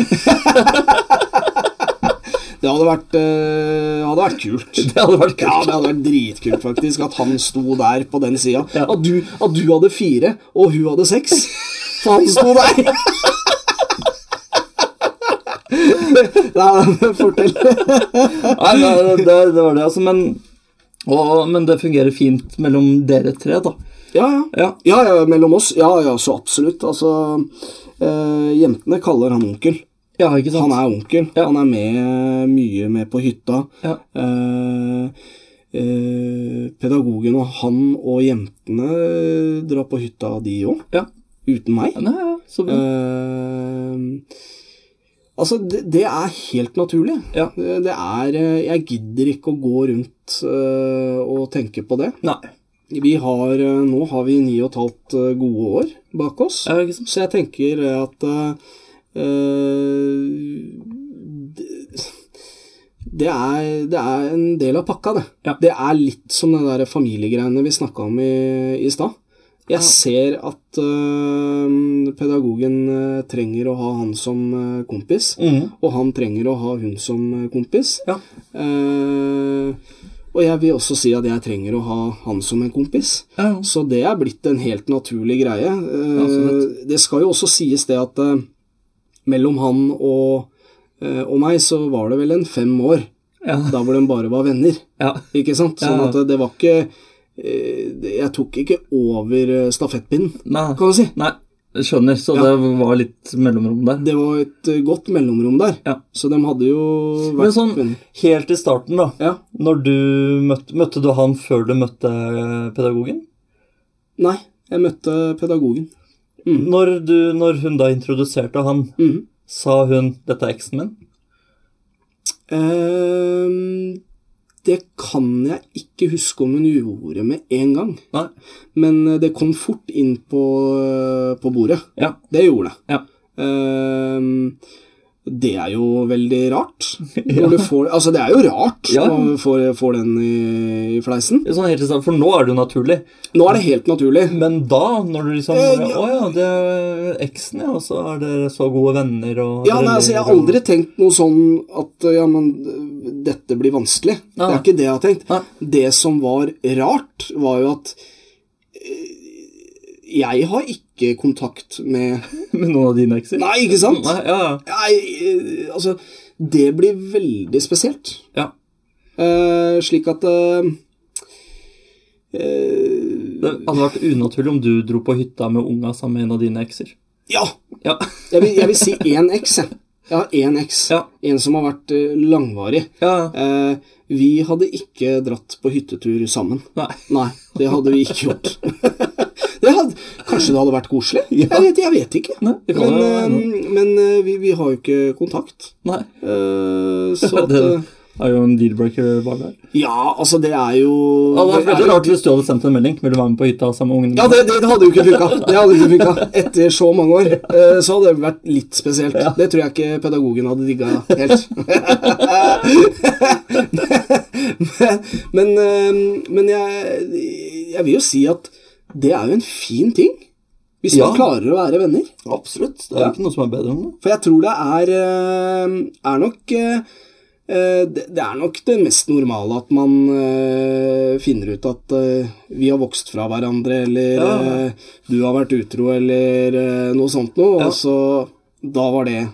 Det hadde vært, eh, hadde vært kult.
Det hadde vært
Ja,
kult.
det hadde vært dritkult, faktisk, at han sto der på den sida.
Ja.
At, du- at du hadde fire, og hun hadde seks. For han sto der! Nei, nei, fortell.
Nei, det, det, det var det, altså. Men, og, men det fungerer fint mellom dere tre, da.
Ja, ja.
Ja.
Ja, ja, mellom oss. Ja, ja, så absolutt. Altså, eh, jentene kaller han onkel.
Ja, ikke sant?
Han er onkel.
Ja.
Han er med mye med på hytta.
Ja.
Eh, eh, pedagogen og han og jentene drar på hytta, de òg.
Ja.
Uten meg.
Nei, ja, så bra.
Eh, altså, det, det er helt naturlig.
Ja.
Det det er eh, Jeg gidder ikke å gå rundt eh, og tenke på det.
Nei.
Vi har, eh, nå har vi ni og et halvt eh, gode år bak oss,
Ja, ikke sant?
så jeg tenker eh, at eh, eh, det- det er, det er en del av pakka, det.
Ja.
Det er litt som den der familiegreiene vi snakka om i, i stad. Jeg ser at eh, pedagogen eh, trenger å ha han som eh, kompis,
Mhm.
og han trenger å ha hun som eh, kompis.
Ja.
Eh, og jeg vil også si at jeg trenger å ha han som en kompis.
Ja, ja.
Så det er blitt en helt naturlig greie. Eh,
Ja, så
det skal jo også sies det at eh, mellom han og, eh, og meg så var det vel en fem år
Ja.
da hvor de bare var venner.
Ja.
Ikke sant? Sånn
Ja.
at det var ikke eh, det- Jeg tok ikke over eh, stafettpinnen,
Nei.
kan du si.
Nei, jeg skjønner. Så det var litt mellomrom der.
Det var et eh, godt mellomrom der.
Ja.
Så de hadde jo
Men
vært
sånn,
venner.
helt i starten, da.
Ja.
Når du møtte, møtte du han før du møtte eh, pedagogen?
Nei, jeg møtte pedagogen.
Når, du, når hun da introduserte han,
Mhm.
sa hun 'dette er eksen min'?
Ehm, det kan jeg ikke huske om hun gjorde med en gang.
Nei.
Men eh, det kom fort inn på, eh, på bordet.
Ja.
Det gjorde det.
Ja.
Ehm, det er jo veldig rart. Når du får, altså, det er jo rart
Ja.
når du får, får den i, i fleisen.
Sånn helt i starten, For nå er det jo naturlig.
Nå er det helt naturlig.
Men da, når du liksom
Eh,
'Å ja, det er eksen, ja', og så er dere så gode venner og
Ja, nei, altså, Jeg har aldri tenkt noe sånn at ja, men eh, dette blir vanskelig. Det
Nei.
er ikke det jeg har tenkt.
Nei.
Det som var rart, var jo at eh, jeg har ikke ikke kontakt med
Med noen av dine ekser?
Nei, ikke sant?
Nei, ja, ja.
Nei, eh, altså Det blir veldig spesielt.
ja.
Eh, slik at eh, eh,
Det hadde vært unaturlig om du dro på hytta med unga sammen med en av dine ekser.
Ja!
Ja.
Jeg vil, jeg vil si én X, jeg. Jeg har én X.
Ja.
En som har vært eh, langvarig.
ja.
Eh, vi hadde ikke dratt på hyttetur sammen.
Nei.
Nei, det hadde vi ikke gjort. det hadde, kanskje det hadde vært koselig? Jeg, vet, jeg vet ikke.
Nei, det kan
men
jo hende.
eh, men eh, vi, vi har jo ikke kontakt.
Nei.
Eh, så at
Det
eh,
er jo en deal-breaker bak her.
Ja, altså, det er jo
Det hadde vært
det er
veldig
jo-
rart hvis du hadde sendt en melding. Vil du være med på hytta sammen med ungene?
Ja, det, det, det hadde jo ikke funka. Det hadde ikke funka. Etter så mange år eh, så hadde det vært litt spesielt. Det tror jeg ikke pedagogen hadde digga helt. men men, eh, men jeg, jeg vil jo si at det er jo en fin ting. Hvis
Ja.
man klarer å være venner.
Absolutt. Det er jo ikke noe som er bedre enn det.
For jeg tror det er, eh, er nok eh, eh, det det er nok det mest normale at man eh, finner ut at eh, vi har vokst fra hverandre, eller
Ja.
eh, du har vært utro, eller eh, noe sånt noe.
Ja.
Og så da var det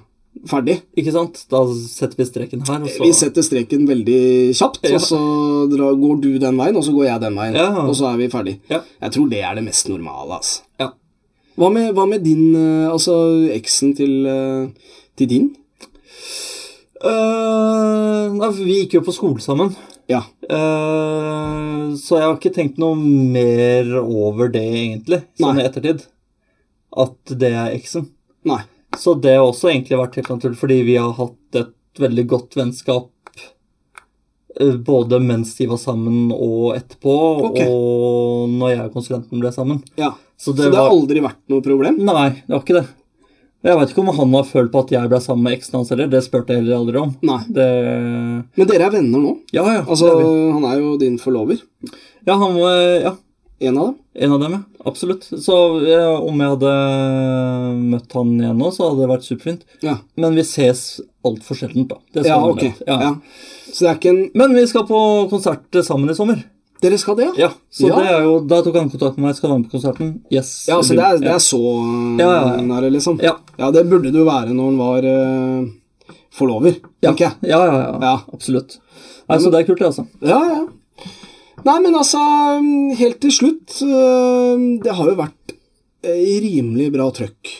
ferdig.
Ikke sant? Da setter vi streken her, og så
Vi setter streken veldig kjapt,
Ja.
og så dra, går du den veien, og så går jeg den veien.
Ja.
Og så er vi ferdig.
Ja.
Jeg tror det er det mest normale, altså.
Ja.
Hva med, hva med din, eh, altså eksen til, eh, til din?
Eh, nei, for vi gikk jo på skole sammen.
Ja.
Eh, så jeg har ikke tenkt noe mer over det, egentlig, sånn i
Nei.
ettertid. At det er eksen.
Nei.
Så det har også egentlig vært helt naturlig, fordi vi har hatt et veldig godt vennskap eh, både mens de var sammen og etterpå,
Ok.
og når jeg og konsulenten ble sammen.
Ja.
Så
Så
det,
det har
var
aldri vært noe problem?
Nei, det var ikke det. Jeg veit ikke om han har følt på at jeg ble sammen med eksen hans heller, det spurte jeg heller aldri om.
Nei.
Det
Men dere er venner nå?
Ja, ja.
Altså,
det er vi.
han er jo din forlover.
ja, han var Ja.
En av dem.
En av dem, ja. Absolutt. Så eh, om jeg hadde eh, møtt han igjen nå, så hadde det vært superfint.
Ja,
Men vi ses altfor sjeldent, da. Det
ja
skal være
ok.
greit.
Ja.
Ja.
Så det er ikke en
Men vi skal på konsert sammen i sommer.
Dere skal det, ja?
Ja, Så
Ja.
det er jo, da tok han kontakt med meg. Skal du være med på konserten? Yes.
Ja, altså, det er, det
ja.
er så øh,
Ja, ja, ja.
nære, liksom?
Ja.
det burde du være når han var øh, forlover,
ja.
tenker jeg.
Ja, ja, ja,
Ja.
Absolutt. Nei, så det er kult, det, altså.
Ja, ja. Nei, men altså, mm, helt til slutt øh, Det har jo vært øh, rimelig bra trøkk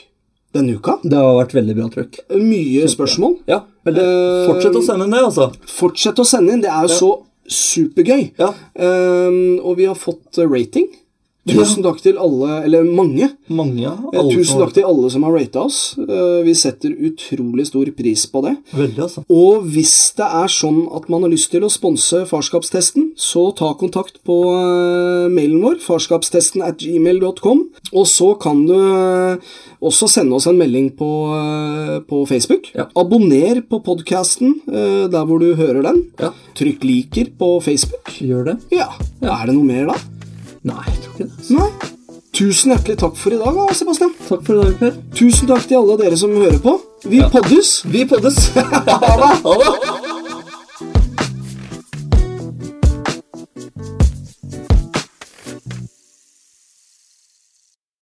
denne uka.
Det har vært veldig bra trykk.
Mye spørsmål.
Ja, veldig.
Eh,
Fortsett å sende ned, altså.
Fortsett å sende inn. Det er jo så supergøy.
Ja.
Ehm, og vi har fått eh, rating. Tusen takk til alle, eller mange.
Mange. ja.
Eh,
Alle
Tusen
som har-
takk til alle som har rata oss. Eh, vi setter utrolig stor pris på det.
Veldig, altså.
Og hvis det er sånn at man har lyst til å sponse farskapstesten, så ta kontakt på eh, mailen vår, farskapstesten at gmail.com. Og så kan du eh, også sende oss en melding på, eh, på Facebook.
Ja.
Abonner på podkasten der hvor du hører den.
Ja.
Trykk liker på Facebook.
Gjør det?
Ja, er det noe mer da?
Nei, jeg tror ikke det. altså.
Nei. Tusen hjertelig takk for i dag, da, Sebastian.
Takk for i dag, Per.
Tusen takk til alle dere som hører på. Vi poddes!
Vi poddes! ha det!